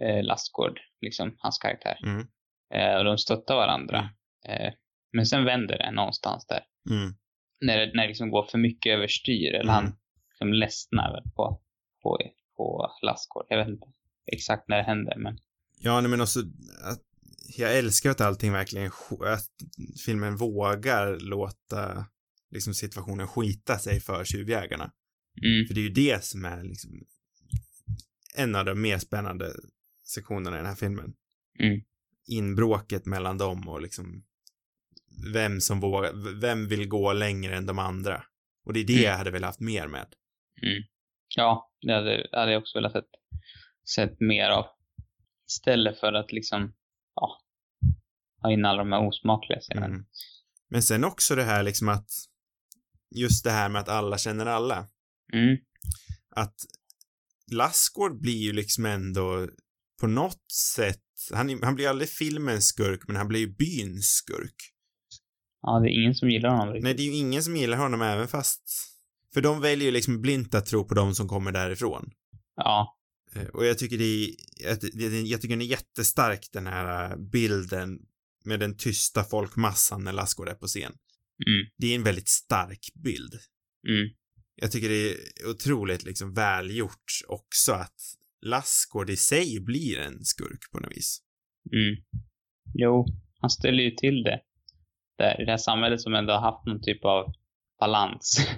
[SPEAKER 2] eh, Lassgård, liksom hans karaktär.
[SPEAKER 1] Mm.
[SPEAKER 2] Eh, och de stöttar varandra. Eh, men sen vänder det någonstans där.
[SPEAKER 1] Mm.
[SPEAKER 2] När det, när det liksom går för mycket överstyr eller
[SPEAKER 1] Mm.
[SPEAKER 2] han liksom ledsnar väl på, på, på Lassgård. Jag vet inte exakt när det händer men
[SPEAKER 1] Ja, nej, men också att jag älskar att allting verkligen, sk- att filmen vågar låta liksom situationen skita sig för tjuvjägarna.
[SPEAKER 2] mm,
[SPEAKER 1] För det är ju det som är liksom en av de mer spännande sektionerna i den här filmen.
[SPEAKER 2] Mm.
[SPEAKER 1] Inbråket mellan dem och liksom vem som vågar, vem vill gå längre än de andra. Och det är det
[SPEAKER 2] Mm.
[SPEAKER 1] jag hade velat haft mer med.
[SPEAKER 2] ja, det hade, hade jag också velat sett, sett mer av. Istället för att liksom, ja, ha in alla de här osmakliga scenerna.
[SPEAKER 1] Mm. Men sen också det här liksom att just det här med att alla känner alla.
[SPEAKER 2] Mm,
[SPEAKER 1] Att Lassgård blir ju liksom ändå på något sätt, han, är- han blir aldrig filmens skurk, men han blir ju byns skurk.
[SPEAKER 2] Ja, det är ingen som gillar honom riktigt.
[SPEAKER 1] Nej, det är ju ingen som gillar honom även fast, för de väljer ju liksom blint att tro på de som kommer därifrån.
[SPEAKER 2] Ja,
[SPEAKER 1] Eh, Och jag tycker det är, jag, det- jag tycker den är jättestark den här eh, bilden med den tysta folkmassan när Lassgård är på scen.
[SPEAKER 2] Mm.
[SPEAKER 1] Det är en väldigt stark bild.
[SPEAKER 2] mm,
[SPEAKER 1] Jag tycker det är otroligt liksom välgjort också att Lassgård i sig blir en skurk på något vis.
[SPEAKER 2] mm. Jo, han ställer ju till det. Där, I det här samhället som ändå har haft någon typ av balans.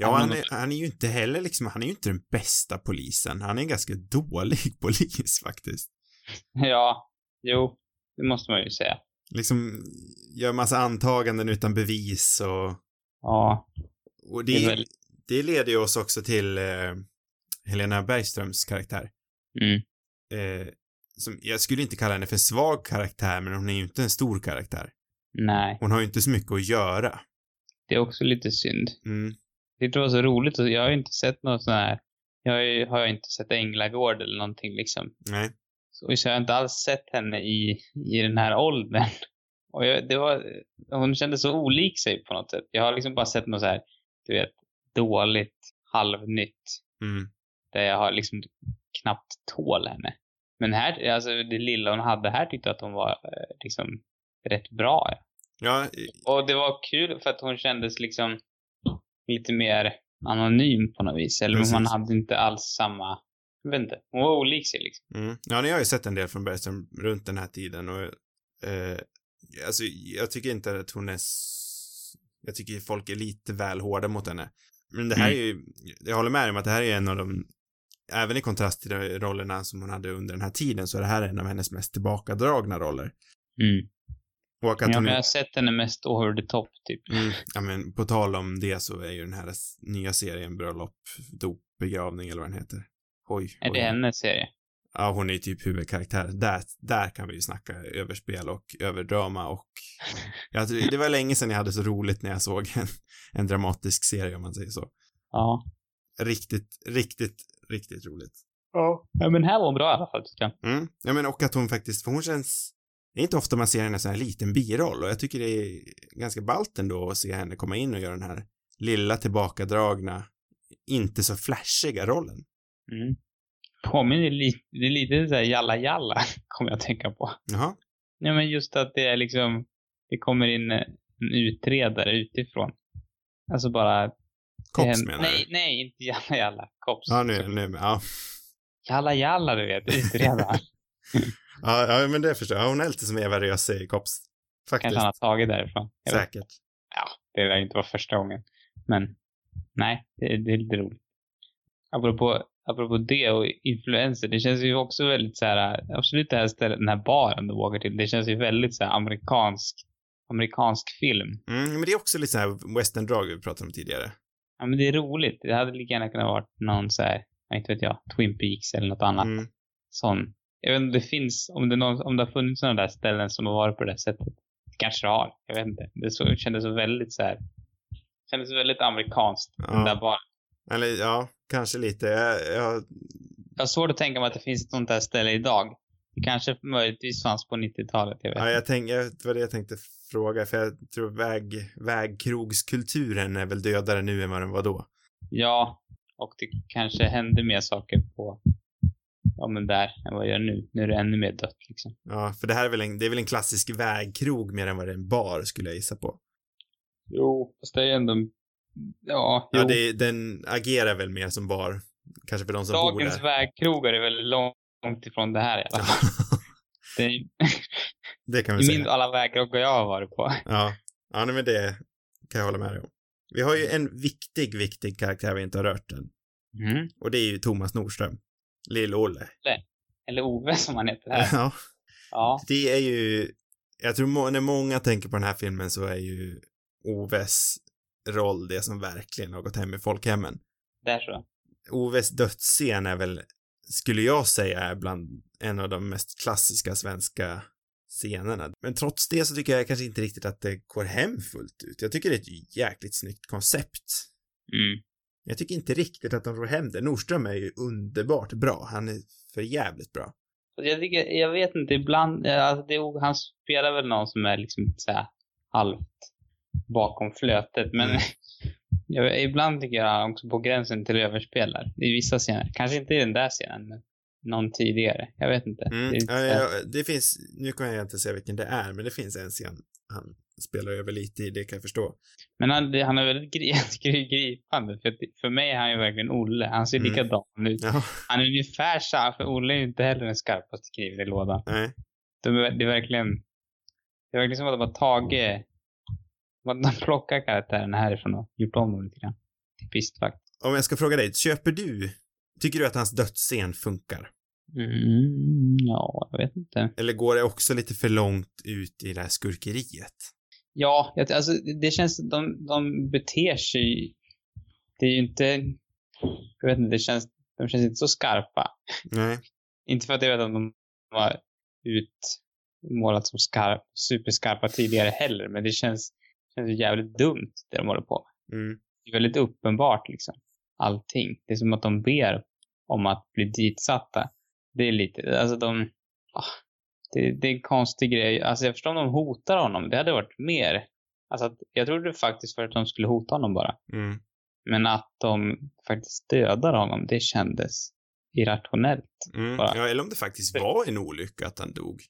[SPEAKER 1] Ja,
[SPEAKER 2] Ja, men
[SPEAKER 1] han
[SPEAKER 2] då-
[SPEAKER 1] är, han är ju inte heller liksom, han är ju inte den bästa polisen. Han är en ganska dålig polis faktiskt.
[SPEAKER 2] ja, jo, det måste man ju säga.
[SPEAKER 1] Liksom gör massa antaganden utan bevis och
[SPEAKER 2] Ja,
[SPEAKER 1] Och
[SPEAKER 2] Det
[SPEAKER 1] det,
[SPEAKER 2] är väl-
[SPEAKER 1] det leder ju oss också till eh, Helena Bergströms karaktär.
[SPEAKER 2] mm,
[SPEAKER 1] Eh, som, jag skulle inte kalla henne för en svag karaktär, men hon är ju inte en stor karaktär.
[SPEAKER 2] nej.
[SPEAKER 1] Hon har ju inte så mycket att göra.
[SPEAKER 2] Det är också lite synd.
[SPEAKER 1] Mm,
[SPEAKER 2] Det var så roligt. och Jag har ju inte sett något sån här. Jag har ju, har ju inte sett Änglagård eller någonting liksom.
[SPEAKER 1] nej.
[SPEAKER 2] Så, så jag har inte alls sett henne i, i den här åldern. Och jag, det var, hon kände så olik sig på något sätt. Jag har liksom bara sett något så här, du vet, dåligt, halvnytt.
[SPEAKER 1] Mm,
[SPEAKER 2] Där jag har liksom knappt tål henne. Men här, alltså det lilla hon hade här tyckte jag att hon var eh, liksom rätt bra.
[SPEAKER 1] ja, eh,
[SPEAKER 2] Och det var kul för att hon kändes liksom lite mer anonym på något vis. Eller
[SPEAKER 1] Precis.
[SPEAKER 2] man hade inte alls samma, jag vet inte, hon var olik sig liksom.
[SPEAKER 1] mm. ja, nej, jag har ju sett en del från Bergström runt den här tiden och eh, alltså, jag tycker inte att hon är s- jag tycker folk är lite väl hårda mot henne. Men det här
[SPEAKER 2] Mm.
[SPEAKER 1] är ju, jag håller med dig om att det här är en av de, även i kontrast till de rollerna som hon hade under den här tiden, så är det här en av hennes mest tillbakadragna roller. Och att
[SPEAKER 2] Ja,
[SPEAKER 1] hon
[SPEAKER 2] men jag
[SPEAKER 1] är,
[SPEAKER 2] har sett henne mest over the top typ.
[SPEAKER 1] mm, ja, men på tal om det så är ju den här s- nya serien Bröllop, dop, begravning eller vad den heter. Oj.
[SPEAKER 2] Är det
[SPEAKER 1] oj.
[SPEAKER 2] hennes serie?
[SPEAKER 1] Ja, hon är ju typ huvudkaraktär. Där, där kan vi ju snacka överspel och överdrama och jag, tror- det var länge sedan jag hade så roligt när jag såg en, en dramatisk serie om man säger så.
[SPEAKER 2] Ja.
[SPEAKER 1] Riktigt, riktigt, riktigt roligt.
[SPEAKER 2] Ja, men här var hon bra i alla fall tycker jag.
[SPEAKER 1] Mm. Ja, men och att hon faktiskt, för hon känns, det är inte ofta man ser henne i sån här liten biroll och jag tycker det är ganska ballt ändå att se henne komma in och göra den här lilla tillbakadragna, inte så flashiga rollen.
[SPEAKER 2] Mm. Påminner lite, det är lite såhär jalla jalla, kommer jag att tänka på.
[SPEAKER 1] Jaha,
[SPEAKER 2] Nej men just att det är liksom, det kommer in eh, en utredare utifrån. Alltså bara...
[SPEAKER 1] Kops
[SPEAKER 2] en-
[SPEAKER 1] menar
[SPEAKER 2] Ehm, Nej,
[SPEAKER 1] du?
[SPEAKER 2] nej, inte jalla jalla. Kops.
[SPEAKER 1] Ja, nu, nu, ja.
[SPEAKER 2] Jalla jalla du vet, utreda.
[SPEAKER 1] Ja, ja, men det förstår jag. Hon är lite som Eva Röse i Kops. Faktiskt.
[SPEAKER 2] Kanske han har tagit därifrån. Jag vet,
[SPEAKER 1] Säkert.
[SPEAKER 2] det lär inte vara första gången. Men nej, det, det är lite roligt. Apropå, apropå det och influenser, det känns ju också väldigt så här, absolut det här stället, den här baren du åker till, det känns ju väldigt så här amerikansk, amerikansk film.
[SPEAKER 1] Mm, men det är också lite så här western-drag vi pratade om tidigare.
[SPEAKER 2] Ja men det är roligt, det hade lika gärna kunnat vara någon så här ja, inte vet jag, Twin Peaks eller något annat.
[SPEAKER 1] Mm.
[SPEAKER 2] Sån. Jag vet inte om det finns, om det, någon, om det har funnits några där ställen som har varit på det här sättet. Det kanske det har, jag vet inte. Det så, kändes så väldigt så här. kändes väldigt amerikanskt.
[SPEAKER 1] Ja.
[SPEAKER 2] Där bara.
[SPEAKER 1] Eller ja, kanske lite. Jag, jag,
[SPEAKER 2] Jag har svårt att tänka mig att det finns ett sånt där ställe idag. Det kanske möjligtvis fanns på 90-talet, jag vet
[SPEAKER 1] ja,
[SPEAKER 2] inte.
[SPEAKER 1] jag tänk, jag, det var det jag tänkte fråga, för jag tror väg, vägkrogskulturen är väl dödare nu än vad den var då.
[SPEAKER 2] Ja, och det kanske hände mer saker på, ja men där, än vad jag gör nu. Nu är det ännu mer dött liksom.
[SPEAKER 1] Ja, för det här är väl en, det är väl en klassisk vägkrog mer än vad det är en bar skulle jag gissa på.
[SPEAKER 2] Jo, fast det är ändå, ja,
[SPEAKER 1] Ja, det, den agerar väl mer som bar. Kanske för de som bor
[SPEAKER 2] Dagens
[SPEAKER 1] där.
[SPEAKER 2] vägkrogar är väldigt långt ifrån det här i alla fall. Det är
[SPEAKER 1] det kan vi
[SPEAKER 2] minst
[SPEAKER 1] säga.
[SPEAKER 2] alla vägkrogar jag har varit på.
[SPEAKER 1] Ja. ja, nej men det kan jag hålla med dig om. Vi har ju en viktig, viktig karaktär vi inte har rört än.
[SPEAKER 2] Mm.
[SPEAKER 1] Och det är ju Thomas Nordström. Lill-Olle.
[SPEAKER 2] Eller Ove som han heter här.
[SPEAKER 1] Ja.
[SPEAKER 2] Ja,
[SPEAKER 1] Det är ju, jag tror må, när många tänker på den här filmen så är ju Oves roll det som verkligen har gått hem i folkhemmen.
[SPEAKER 2] där så.
[SPEAKER 1] Oves dödsscen är väl, skulle jag säga, är bland en av de mest klassiska svenska scenerna. Men trots det så tycker jag kanske inte riktigt att det går hem fullt ut. Jag tycker det är ett jäkligt snyggt koncept.
[SPEAKER 2] Mm.
[SPEAKER 1] Jag tycker inte riktigt att de rår hem det. Nordström är ju underbart bra. Han är för jävligt bra.
[SPEAKER 2] Och Jag, tycker, jag vet inte, ibland, eh, alltså det, är- han spelar väl någon som är liksom lite så här halvt bakom flötet, men
[SPEAKER 1] Mm.
[SPEAKER 2] jag, ibland tycker jag han också på gränsen till överspelar. I vissa scener. Kanske inte i den där scenen, men någon tidigare. Jag vet inte. Det
[SPEAKER 1] Mm.
[SPEAKER 2] är lite
[SPEAKER 1] Ja,
[SPEAKER 2] så här-
[SPEAKER 1] ja, ja, det finns, nu kan jag inte säga vilken det är, men det finns en scen han spelar över lite i, det kan jag förstå.
[SPEAKER 2] Men han, det- han är väldigt gri, gripande. För, att- för mig är han ju verkligen Olle. Han ser
[SPEAKER 1] Mm.
[SPEAKER 2] likadan ut.
[SPEAKER 1] Ja,
[SPEAKER 2] Han är ungefär samma, för Olle är ju inte heller den skarpaste kniven i lådan.
[SPEAKER 1] nej.
[SPEAKER 2] De är, det är verkligen... Det är verkligen som att de har tagit... att De plockar karaktärerna härifrån och gjort om dem lite grann. Typiskt faktiskt.
[SPEAKER 1] Om jag ska fråga dig, köper du, tycker du att hans dödsscen funkar?
[SPEAKER 2] Mm, ja, jag vet inte.
[SPEAKER 1] Eller går det också lite för långt ut i det här skurkeriet?
[SPEAKER 2] Ja, jag, alltså det- det känns att de, de beter sig... Det är ju inte... Jag vet inte, det känns, de känns inte så skarpa.
[SPEAKER 1] Nej.
[SPEAKER 2] Inte för att jag vet att de var utmålat som skarp, superskarpa tidigare heller, men det känns, känns ju jävligt dumt det de håller på med.
[SPEAKER 1] Mm.
[SPEAKER 2] Det är väldigt uppenbart liksom, allting. Det är som att de ber om att bli ditsatta. Det är lite, alltså de, ah, det, det är en konstig grej. Alltså jag förstår om de hotar honom, det hade varit mer. Alltså att, jag trodde faktiskt för att de skulle hota honom bara.
[SPEAKER 1] Mm.
[SPEAKER 2] Men att de faktiskt dödar honom, det kändes irrationellt.
[SPEAKER 1] Mm.
[SPEAKER 2] Bara-
[SPEAKER 1] Ja, eller om det faktiskt var en olycka att han dog.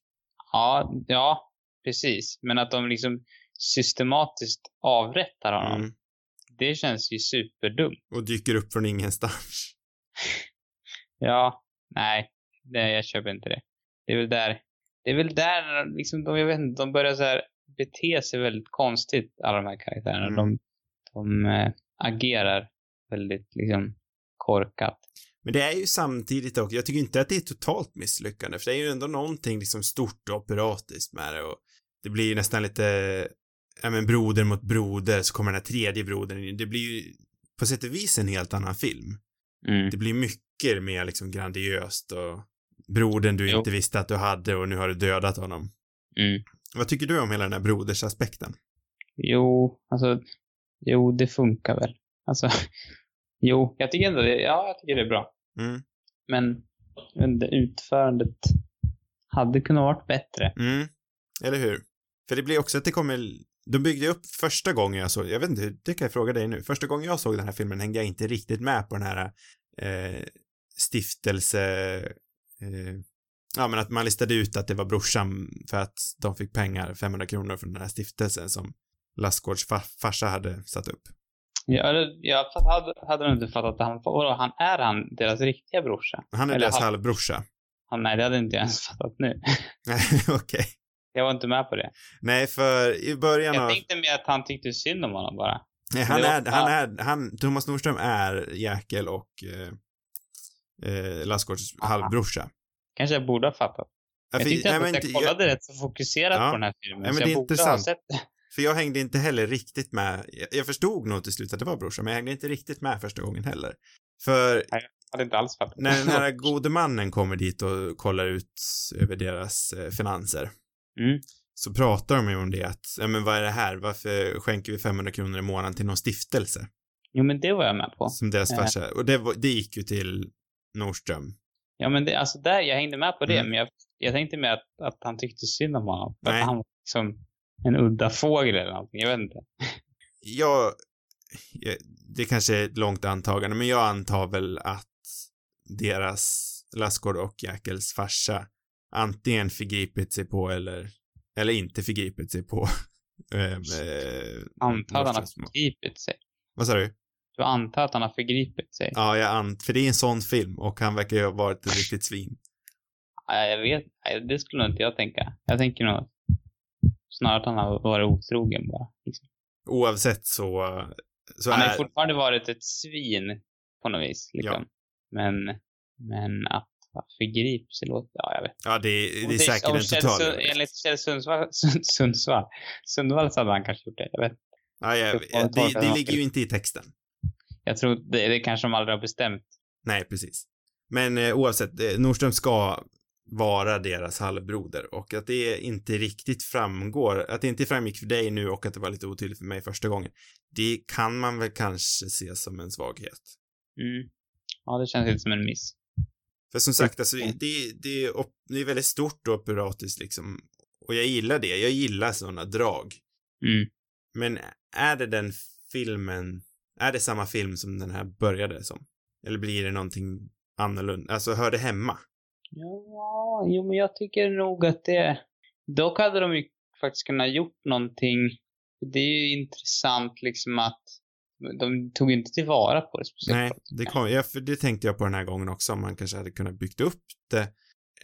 [SPEAKER 2] Ja, ja, precis. Men att de liksom systematiskt avrättar honom,
[SPEAKER 1] Mm.
[SPEAKER 2] det känns ju superdumt.
[SPEAKER 1] Och dyker upp från ingenstans.
[SPEAKER 2] Ja, nej, nej, jag köper inte det. Det är väl där, det är väl där liksom, de, jag vet inte, de börjar så här bete sig väldigt konstigt, alla de här karaktärerna.
[SPEAKER 1] Mm.
[SPEAKER 2] De, de eh, agerar väldigt liksom korkat.
[SPEAKER 1] Men det är ju samtidigt också, jag tycker inte att det är totalt misslyckande, för det är ju ändå någonting liksom stort och operatiskt med det och det blir ju nästan lite, ja men broder mot broder, så kommer den här tredje brodern in. Det blir ju på sätt och vis en helt annan film.
[SPEAKER 2] Mm.
[SPEAKER 1] Det blir mycket mer liksom grandiöst och brodern du
[SPEAKER 2] Jo.
[SPEAKER 1] inte visste att du hade och nu har du dödat honom.
[SPEAKER 2] Mm.
[SPEAKER 1] Vad tycker du om hela den här brodersaspekten?
[SPEAKER 2] Jo, alltså, jo, det funkar väl. Alltså, jo, jag tycker ändå det, ja, jag tycker det är bra.
[SPEAKER 1] Mm.
[SPEAKER 2] Men men det utförandet hade kunnat varit bättre.
[SPEAKER 1] Mm. Eller hur? För det blir också att det kommer, de byggde upp första gången jag såg, jag vet inte, hur- det kan jag fråga dig nu, första gången jag såg den här filmen hängde jag inte riktigt med på den här eh, stiftelse, eh, ja men att man listade ut att det var brorsan för att de fick pengar, 500 kronor från den här stiftelsen som Lassgårds fa- farsa hade satt upp.
[SPEAKER 2] Jag, eller, jag fatt- hade, hade nog inte fattat att han, vadå, han är han deras riktiga brorsa.
[SPEAKER 1] Han är
[SPEAKER 2] Eller
[SPEAKER 1] deras
[SPEAKER 2] han-
[SPEAKER 1] halvbrorsa.
[SPEAKER 2] Han, nej, det hade inte jag ens fattat nu.
[SPEAKER 1] Nej, okej.
[SPEAKER 2] Jag var inte med på det.
[SPEAKER 1] Nej, för i början
[SPEAKER 2] Jag
[SPEAKER 1] av...
[SPEAKER 2] tänkte mer att han tyckte synd om honom bara.
[SPEAKER 1] Nej, han
[SPEAKER 2] Det var-
[SPEAKER 1] är, han är, han, Thomas Nordström är Jäkel och eh, eh, Lassgårds halvbrorsa.
[SPEAKER 2] Kanske jag borde ha fattat.
[SPEAKER 1] Ja,
[SPEAKER 2] Men
[SPEAKER 1] för,
[SPEAKER 2] jag tyckte
[SPEAKER 1] nej,
[SPEAKER 2] ändå
[SPEAKER 1] men,
[SPEAKER 2] att
[SPEAKER 1] inte-
[SPEAKER 2] jag
[SPEAKER 1] jag,
[SPEAKER 2] kollade rätt så fokuserat
[SPEAKER 1] Ja.
[SPEAKER 2] på den här filmen.
[SPEAKER 1] Nej, men det
[SPEAKER 2] så
[SPEAKER 1] är
[SPEAKER 2] jag borde ha
[SPEAKER 1] intressant.
[SPEAKER 2] sett det.
[SPEAKER 1] för jag hängde inte heller riktigt med. Jag, jag förstod nog till slut att det var brorsa, men jag hängde inte riktigt med första gången heller. För
[SPEAKER 2] Nej. Hade inte alls fattat.
[SPEAKER 1] När den här gode mannen kommer dit och kollar ut över deras eh, finanser
[SPEAKER 2] Mm.
[SPEAKER 1] så pratar de ju om det att, ja men vad är det här, varför skänker vi 500 kronor i månaden till någon stiftelse?
[SPEAKER 2] Jo, men det var jag med på.
[SPEAKER 1] Som deras
[SPEAKER 2] Ja.
[SPEAKER 1] farsa, och det, var- det gick ju till Nordström.
[SPEAKER 2] Ja, men det, alltså där, jag hängde med på det,
[SPEAKER 1] Mm.
[SPEAKER 2] men jag, jag tänkte med att, att han tyckte synd om honom. För
[SPEAKER 1] Nej.
[SPEAKER 2] att han var liksom en udda fågel eller någonting, jag vet inte.
[SPEAKER 1] Jag, jag, det kanske är ett långt antagande, men jag antar väl att deras, Lassgård och Jäkels farsa antingen förgripit sig på eller, eller inte förgripit sig på. ehm, eh,
[SPEAKER 2] Antar att han har
[SPEAKER 1] Nordströms mål.
[SPEAKER 2] förgripit sig.
[SPEAKER 1] Vad sa du?
[SPEAKER 2] Du antar att han har förgripit sig.
[SPEAKER 1] Ja, jag ant, för det är en sån film och han verkar ju ha varit ett riktigt svin.
[SPEAKER 2] Ja, jag vet nej, det skulle nog inte jag tänka. Jag tänker nog snarare att han har varit otrogen bara. Liksom.
[SPEAKER 1] Oavsett så, så
[SPEAKER 2] Han har
[SPEAKER 1] är,
[SPEAKER 2] ju fortfarande varit ett svin på något vis. Liksom. Men, men att han förgriper sig låter, ja jag vet.
[SPEAKER 1] ja det, är- det är säkert
[SPEAKER 2] om
[SPEAKER 1] en
[SPEAKER 2] Kjell
[SPEAKER 1] total.
[SPEAKER 2] Sund- Enligt Kjell Sundsvall, Sund- Sundsvall, Sundsvall så hade han kanske gjort det. Jag, vet.
[SPEAKER 1] Ja, jag,
[SPEAKER 2] Ska
[SPEAKER 1] jag,
[SPEAKER 2] få ta
[SPEAKER 1] det, det
[SPEAKER 2] den
[SPEAKER 1] ligger ju inte i texten.
[SPEAKER 2] jag tror det, det kanske de aldrig har bestämt.
[SPEAKER 1] Nej, precis. Men eh, oavsett, eh, Nordström ska vara deras halvbroder och att det inte riktigt framgår, att det inte framgick för dig nu och att det var lite otydligt för mig första gången, det kan man väl kanske se som en svaghet.
[SPEAKER 2] Mm. Ja, det känns lite som en miss.
[SPEAKER 1] För som sagt, alltså, det, det, är, op- det är väldigt stort och operatiskt liksom. Och jag gillar det. Jag gillar sådana drag.
[SPEAKER 2] Mm.
[SPEAKER 1] Men är det den filmen, är det samma film som den här började som? Eller blir det någonting annorlunda? Alltså, hör det hemma?
[SPEAKER 2] Ja, jo men jag tycker nog att det... Dock hade de ju faktiskt kunnat gjort någonting. Det är ju intressant liksom att de tog inte tillvara på det speciellt.
[SPEAKER 1] Nej, det, kom, ja, för det tänkte jag på den här gången också, om man kanske hade kunnat byggt upp det.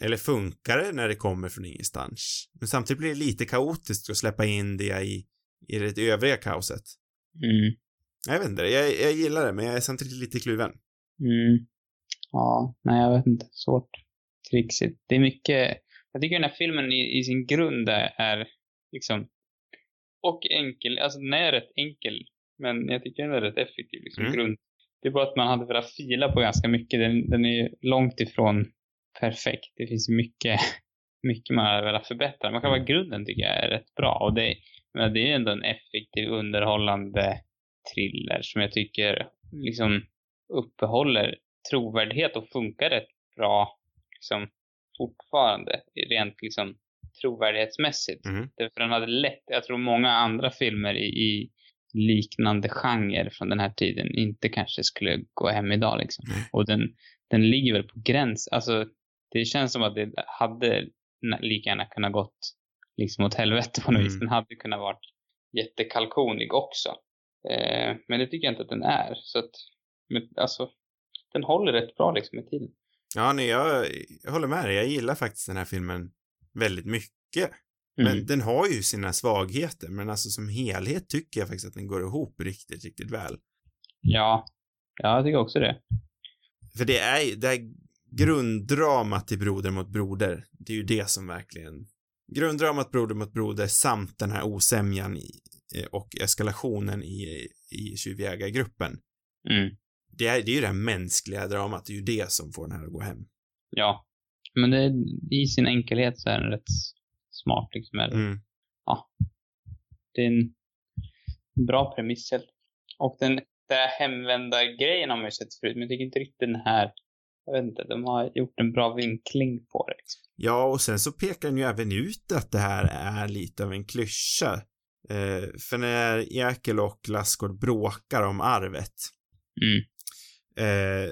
[SPEAKER 1] Eller funkar det när det kommer från ingenstans? Men samtidigt blir det lite kaotiskt att släppa in det i, i det övriga kaoset.
[SPEAKER 2] Mm.
[SPEAKER 1] Jag vet inte, jag, jag gillar det, men jag är samtidigt lite kluven.
[SPEAKER 2] Mm. Ja, nej jag vet inte. Svårt. Trixigt. Det är mycket... Jag tycker den här filmen i, i sin grund är, är liksom... Och enkel. Alltså den är rätt enkel. Men jag tycker den är rätt effektiv liksom,
[SPEAKER 1] Mm.
[SPEAKER 2] grund. Det är bara att man hade velat fila på ganska mycket. Den, den är ju långt ifrån perfekt. Det finns ju mycket, mycket man hade velat förbättra. Men själva grunden tycker jag är rätt bra. Och det, men det är ju ändå en effektiv underhållande thriller som jag tycker liksom uppehåller trovärdighet och funkar rätt bra liksom, fortfarande rent liksom, trovärdighetsmässigt.
[SPEAKER 1] Mm.
[SPEAKER 2] Därför den hade lätt, jag tror många andra filmer i, i liknande genre från den här tiden inte kanske skulle gå hem idag liksom.
[SPEAKER 1] Nej.
[SPEAKER 2] Och den, den ligger väl på gräns, alltså det känns som att det hade nä- lika gärna kunnat gått liksom åt helvete på något
[SPEAKER 1] Mm.
[SPEAKER 2] vis. Den hade kunnat varit jättekalkonig också. Eh, men det tycker jag inte att den är. Så att, men, alltså, den håller rätt bra liksom med tiden.
[SPEAKER 1] Ja, nej, jag, jag håller med dig. Jag gillar faktiskt den här filmen väldigt mycket.
[SPEAKER 2] Mm.
[SPEAKER 1] Men den har ju sina svagheter, men alltså som helhet tycker jag faktiskt att den går ihop riktigt, riktigt väl.
[SPEAKER 2] Ja. ja, jag tycker också det.
[SPEAKER 1] För det är ju, det här grunddramat i Broder mot Broder, det är ju det som verkligen... Grunddramat Broder mot Broder samt den här osämjan i, eh, och eskalationen i, i tjuvjägargruppen.
[SPEAKER 2] Mm.
[SPEAKER 1] Det är, det är ju det här mänskliga dramat, det är ju det som får den här att gå hem.
[SPEAKER 2] Ja. Men det, i sin enkelhet så är den rätt s- smart liksom. Eller?
[SPEAKER 1] Mm.
[SPEAKER 2] Det är en bra premiss helt. Och den där hemvända grejen har man ju sett förut, men jag tycker inte riktigt den här, jag vet inte, de har gjort en bra vinkling på det. Liksom.
[SPEAKER 1] Ja, och sen så pekar den ju även ut att det här är lite av en klyscha. Eh, för när Jäkel och Lassgård bråkar om arvet
[SPEAKER 2] Mm.
[SPEAKER 1] eh,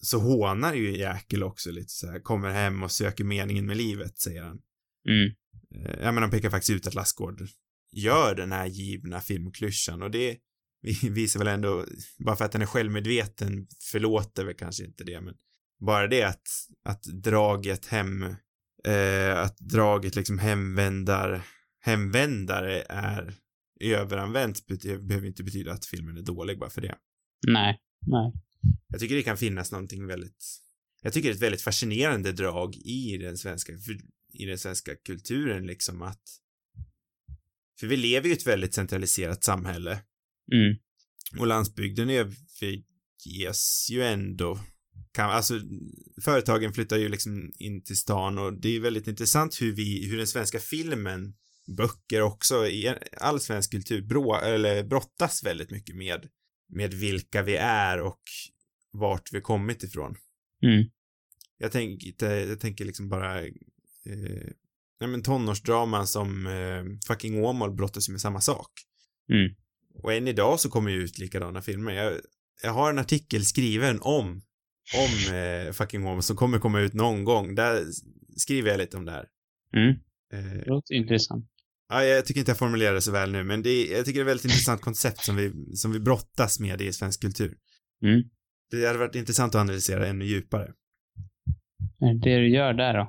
[SPEAKER 1] så hånar ju Jäkel också lite så här, kommer hem och söker meningen med livet, säger han.
[SPEAKER 2] Mm.
[SPEAKER 1] Eh, ja, men han pekar faktiskt ut att Lassgård gör den här givna filmklyschan och det vi- visar väl ändå, bara för att den är självmedveten förlåter väl kanske inte det, men bara det att, att draget hem, eh, att draget liksom hemvändar, hemvändare är överanvänt bety- behöver inte betyda att filmen är dålig bara för det.
[SPEAKER 2] Nej. Nej.
[SPEAKER 1] Jag tycker det kan finnas någonting väldigt, jag tycker det är ett väldigt fascinerande drag i den svenska, i den svenska kulturen liksom att, för vi lever ju i ett väldigt centraliserat samhälle
[SPEAKER 2] Mm.
[SPEAKER 1] och landsbygden överges ju ändå kan, alltså företagen flyttar ju liksom in till stan och det är ju väldigt intressant hur vi, hur den svenska filmen, böcker också, i all svensk kultur brå, eller brottas väldigt mycket med, med vilka vi är och vart vi kommit ifrån.
[SPEAKER 2] Mm.
[SPEAKER 1] Jag, tänk, jag tänker liksom bara, eh, nej men tonårsdraman som eh, fucking Åmål brottas ju med samma sak.
[SPEAKER 2] Mm.
[SPEAKER 1] Och än idag så kommer ju ut likadana filmer. Jag, jag har en artikel skriven om om eh, fucking Åmål som kommer komma ut någon gång. Där skriver jag lite om det här.
[SPEAKER 2] Mm.
[SPEAKER 1] Eh,
[SPEAKER 2] Det låter intressant.
[SPEAKER 1] ja, jag tycker inte jag formulerar det så väl nu, men det är, jag tycker det är ett väldigt intressant koncept som vi, som vi brottas med i svensk kultur.
[SPEAKER 2] Mm.
[SPEAKER 1] Det hade varit intressant att analysera ännu djupare.
[SPEAKER 2] Det du gör där då?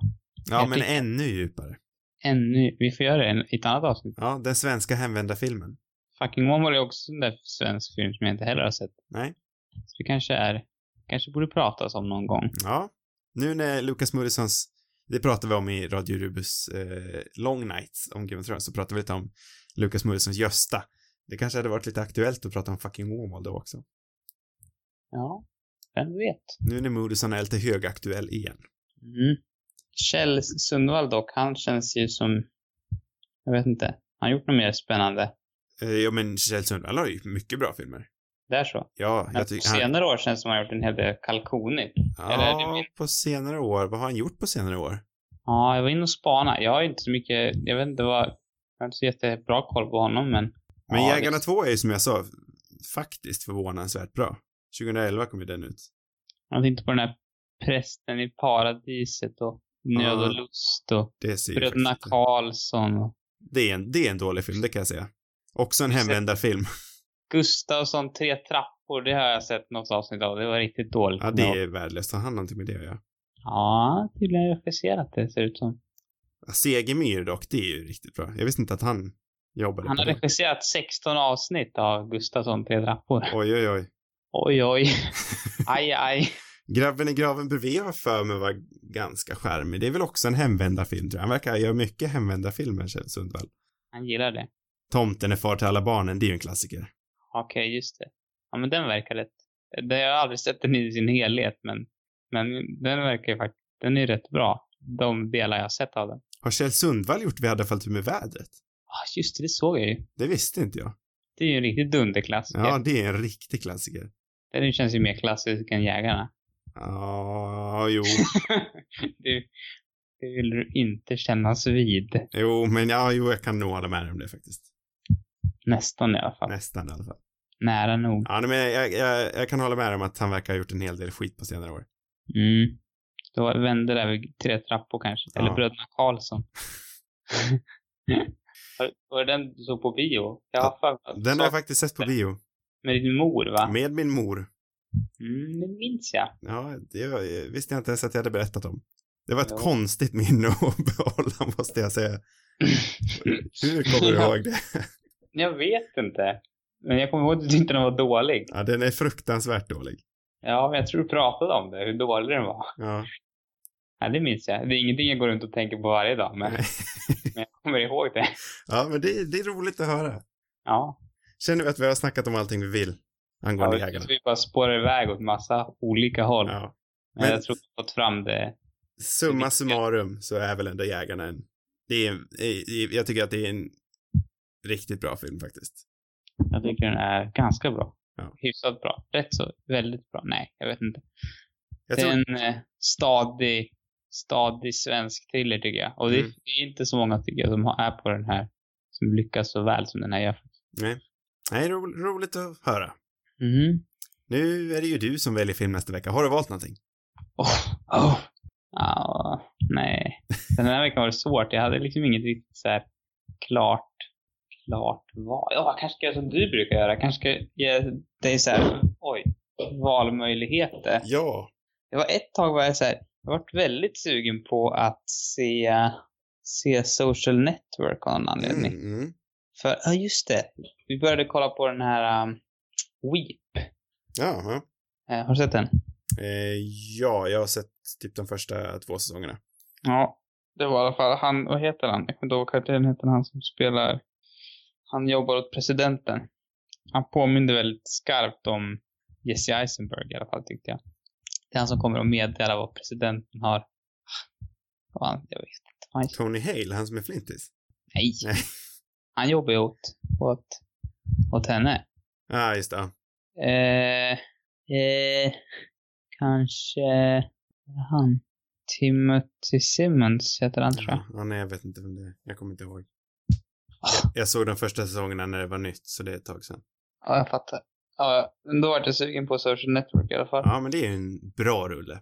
[SPEAKER 1] Ja,
[SPEAKER 2] Jag
[SPEAKER 1] men
[SPEAKER 2] tycker-
[SPEAKER 1] ännu djupare.
[SPEAKER 2] Ännu, vi får göra det i ett annat avsnitt.
[SPEAKER 1] Ja, den svenska hemvändarfilmen.
[SPEAKER 2] Fucking Åmål är också en där svensk film som jag inte heller har sett.
[SPEAKER 1] Nej.
[SPEAKER 2] Så det kanske är, kanske borde pratas om någon gång.
[SPEAKER 1] Ja, nu när Lukas Moodyssons, det pratade vi om i Radio Rubus eh, Long Nights om Game of Thrones, så pratade vi lite om Lukas Moodyssons Gösta. Det kanske hade varit lite aktuellt att prata om fucking Åmål då också.
[SPEAKER 2] Ja, vem vet?
[SPEAKER 1] Nu när Moodysson är lite högaktuell igen.
[SPEAKER 2] Mm. Kjell Sundvall dock, han känns ju som, jag vet inte, han har gjort något mer spännande.
[SPEAKER 1] Eh, ja, men Kjell Sundvall har ju mycket bra filmer.
[SPEAKER 2] Där så.
[SPEAKER 1] Ja,
[SPEAKER 2] Men
[SPEAKER 1] jag
[SPEAKER 2] på
[SPEAKER 1] tycker han...
[SPEAKER 2] senare år känns det som han har gjort en hel del kalkoner. eller är det
[SPEAKER 1] Ja, på senare år. Vad har han gjort på senare år?
[SPEAKER 2] Ja, jag var inne och spana. Jag har ju inte så mycket, jag vet inte vad, jag har inte så jättebra koll på honom men.
[SPEAKER 1] Men
[SPEAKER 2] Ja,
[SPEAKER 1] Jägarna
[SPEAKER 2] det-
[SPEAKER 1] 2 är ju som jag sa faktiskt förvånansvärt bra. 2011 kom ju den ut.
[SPEAKER 2] Han tänkte på den här prästen i paradiset och Nöd
[SPEAKER 1] Ja.
[SPEAKER 2] och lust och
[SPEAKER 1] Det ser ju faktiskt
[SPEAKER 2] Bröderna
[SPEAKER 1] inte-
[SPEAKER 2] Karlsson och
[SPEAKER 1] det, är en, det är en dålig film, det kan jag säga. Också en
[SPEAKER 2] Just det.
[SPEAKER 1] hemvändarfilm.
[SPEAKER 2] Gustavsson Tre trappor, det har jag sett något avsnitt av. Det var riktigt dåligt.
[SPEAKER 1] Ja, det är värdelöst. Har han någonting med det att göra?
[SPEAKER 2] ja tydligen regisserat det ser det ut som.
[SPEAKER 1] Segemyhr dock, det är ju riktigt bra. Jag visste inte att han jobbade
[SPEAKER 2] Han
[SPEAKER 1] på
[SPEAKER 2] har
[SPEAKER 1] det.
[SPEAKER 2] regisserat 16 avsnitt av Gustavsson Tre trappor.
[SPEAKER 1] Oj, oj, oj.
[SPEAKER 2] Oj, oj. Aj, aj.
[SPEAKER 1] Grabben i graven bredvid har för mig var ganska charmig. Det är väl också en hemvändarfilm tror jag. Han verkar göra mycket hemvändarfilmer, Kjell Sundvall.
[SPEAKER 2] Han gillar det.
[SPEAKER 1] Tomten är far till alla barnen, det är ju en klassiker.
[SPEAKER 2] Okej, just det. Ja, men den verkar rätt. Det, jag har aldrig sett den i sin helhet, men, men den verkar ju faktiskt, den är ju rätt bra. De delar jag har sett av den.
[SPEAKER 1] Har Kjell Sundvall gjort Vi hade fallit ur med vädret?
[SPEAKER 2] Ah, just det, det såg jag ju.
[SPEAKER 1] Det visste inte jag.
[SPEAKER 2] Det är ju en riktig dunderklassiker.
[SPEAKER 1] Ja, det är en riktig klassiker.
[SPEAKER 2] Den känns ju mer klassisk än Jägarna.
[SPEAKER 1] Ja, jo,
[SPEAKER 2] du, det vill du inte kännas vid.
[SPEAKER 1] jo, men ja, jo, jag kan nog hålla med dig om det faktiskt.
[SPEAKER 2] Nästan i alla fall.
[SPEAKER 1] Nästan i alla fall.
[SPEAKER 2] Nära nog.
[SPEAKER 1] Ja, nej, men jag, jag, jag kan hålla med dig om att han verkar ha gjort en hel del skit på senare år.
[SPEAKER 2] Mm. Då vände det vid tre trappor kanske.
[SPEAKER 1] Ja.
[SPEAKER 2] Eller Bröderna Karlsson. Var- Var det den du såg på bio? Jag har för mig att du
[SPEAKER 1] Den har
[SPEAKER 2] såg
[SPEAKER 1] jag faktiskt sett på bio.
[SPEAKER 2] med din mor va?
[SPEAKER 1] Med min mor.
[SPEAKER 2] Mm, det minns jag.
[SPEAKER 1] Ja, det var- visste jag inte ens att jag hade berättat om. Det var ett
[SPEAKER 2] Ja.
[SPEAKER 1] konstigt minne att behålla, måste jag säga. Hur kommer du ihåg det?
[SPEAKER 2] jag vet inte. Men jag kommer ihåg att du tyckte den var dålig.
[SPEAKER 1] Ja, den är fruktansvärt dålig.
[SPEAKER 2] Ja, men jag tror du pratade om det, hur dålig den var.
[SPEAKER 1] Ja.
[SPEAKER 2] Ja, det minns jag. Det är ingenting jag går runt och tänker på varje dag, men, men jag kommer ihåg det.
[SPEAKER 1] Ja, men det, det är roligt att höra.
[SPEAKER 2] Ja,
[SPEAKER 1] Känner vi att vi har snackat om allting vi vill
[SPEAKER 2] ja
[SPEAKER 1] angående
[SPEAKER 2] vi,
[SPEAKER 1] jägarna?
[SPEAKER 2] vi bara spårar iväg åt massa olika håll.
[SPEAKER 1] Ja.
[SPEAKER 2] men,
[SPEAKER 1] men-
[SPEAKER 2] jag tror vi har fått fram det.
[SPEAKER 1] Summa summarum så är väl ändå jägarna en... Det är, en- eh, jag tycker att det är en riktigt bra film faktiskt.
[SPEAKER 2] Jag tycker den är ganska bra.
[SPEAKER 1] Ja.
[SPEAKER 2] Hyfsat bra. Rätt så väldigt bra. Nej, jag vet inte.
[SPEAKER 1] Jag
[SPEAKER 2] det
[SPEAKER 1] tror,
[SPEAKER 2] är en eh, stadig, stadig svensk thriller tycker jag. Och det,
[SPEAKER 1] Mm.
[SPEAKER 2] det är inte så många tycker jag som har- är på den här, som lyckas så väl som den här gör.
[SPEAKER 1] nej, ro, roligt att höra.
[SPEAKER 2] Mm.
[SPEAKER 1] Nu är det ju du som väljer film nästa vecka. Har du valt någonting?
[SPEAKER 2] Oh, oh. Ah, nej. Den här veckan var det svårt. Jag hade liksom inget riktigt så här klart, klart val. Ja, jag kanske ska göra som du brukar göra. Jag kanske ska ge dig så här, oj, valmöjligheter.
[SPEAKER 1] Ja.
[SPEAKER 2] Det var ett tag var jag så här, jag varit väldigt sugen på att se, se Social Network av någon anledning.
[SPEAKER 1] Mm, mm.
[SPEAKER 2] För, ja just det. Vi började kolla på den här um, Weep.
[SPEAKER 1] Ja, ja.
[SPEAKER 2] Eh, har du sett den?
[SPEAKER 1] Eh, ja, jag har sett typ de första två säsongerna.
[SPEAKER 2] Ja. Det var i alla fall han, vad heter han? Jag kommer inte ihåg karaktären heter han som spelar. Han jobbar åt presidenten. Han påminner väldigt skarpt om Jesse Eisenberg i alla fall tyckte jag. Det är han som kommer att meddela vad presidenten har. Fan, jag vet inte. Han,
[SPEAKER 1] Tony Hale, han som är flintis.
[SPEAKER 2] nej.
[SPEAKER 1] Nej.
[SPEAKER 2] Han jobbar ju åt, åt, åt henne.
[SPEAKER 1] Ja, ah, just det. ja.
[SPEAKER 2] Eh, eh, kanske han. Timothy Simmons heter han tror jag.
[SPEAKER 1] Ja, nej, jag vet inte vem det är. Jag kommer inte ihåg.
[SPEAKER 2] Ah.
[SPEAKER 1] Jag såg de första säsongerna när det var nytt, så det är ett tag sedan.
[SPEAKER 2] Ja, jag fattar. Ja, men då vart jag sugen på Social Network i alla fall.
[SPEAKER 1] Ja, men det är ju en bra rulle.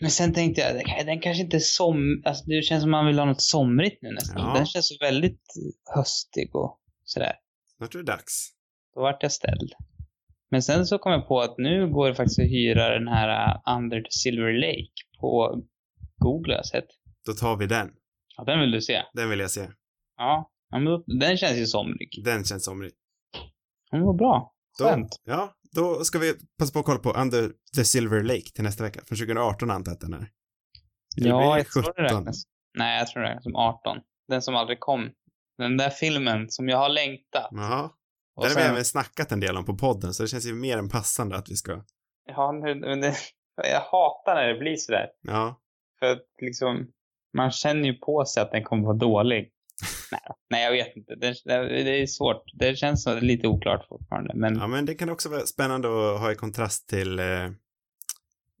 [SPEAKER 2] Men sen tänkte jag, den- den kanske inte är som... Alltså det känns som man vill ha något somrigt nu nästan.
[SPEAKER 1] Ja.
[SPEAKER 2] Den känns så väldigt eh, höstig och sådär.
[SPEAKER 1] Snart är det dags.
[SPEAKER 2] Då vart jag ställd. Men sen så kom jag på att nu går det faktiskt att hyra den här uh, Under the Silver Lake på Google har jag sett.
[SPEAKER 1] Då tar vi den.
[SPEAKER 2] Ja, den vill du se?
[SPEAKER 1] Den vill jag se.
[SPEAKER 2] Ja. ja men då, den känns ju somrig.
[SPEAKER 1] Den känns somrig.
[SPEAKER 2] Den var bra.
[SPEAKER 1] Då,
[SPEAKER 2] Skönt.
[SPEAKER 1] ja, då ska vi passa på att kolla på Under the Silver Lake till nästa vecka. Från 2018 antar jag att den är. Eller blir
[SPEAKER 2] Ja,
[SPEAKER 1] det
[SPEAKER 2] jag tror det
[SPEAKER 1] 17?
[SPEAKER 2] räknas. Nej, jag tror det räknas som 18. Den som aldrig kom. Den där filmen som jag har längtat.
[SPEAKER 1] Jaha.
[SPEAKER 2] Och
[SPEAKER 1] Den har vi
[SPEAKER 2] sen-
[SPEAKER 1] även snackat en del om på podden, så det känns ju mer än passande att vi ska...
[SPEAKER 2] Ja, nu, men det, jag hatar när det blir sådär.
[SPEAKER 1] Ja.
[SPEAKER 2] För att liksom, man känner ju på sig att den kommer vara dålig. nej, nej, jag vet inte. Det, det, det är svårt. Det känns som lite oklart fortfarande. Men
[SPEAKER 1] ja, men det kan också vara spännande att ha i kontrast till eh, eh,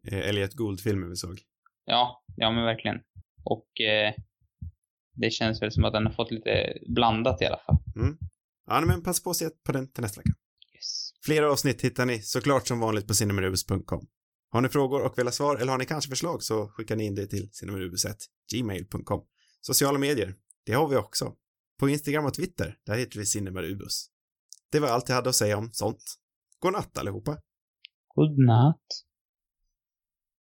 [SPEAKER 1] Elliot Gould-filmen vi såg.
[SPEAKER 2] ja, ja men verkligen. Och eh, det känns väl som att den har fått lite blandat i alla fall.
[SPEAKER 1] Ja, nej, men passa på att se på den till nästa vecka.
[SPEAKER 2] Yes.
[SPEAKER 1] Flera avsnitt hittar ni såklart som vanligt på cinemarubus.com. Har ni frågor och vill ha svar eller har ni kanske förslag så skickar ni in det till cinemarubus.gmail.com. Sociala medier, det har vi också. På Instagram och Twitter, där heter vi cinemarubus. Det var allt jag hade att säga om sånt. God natt allihopa.
[SPEAKER 2] Good night.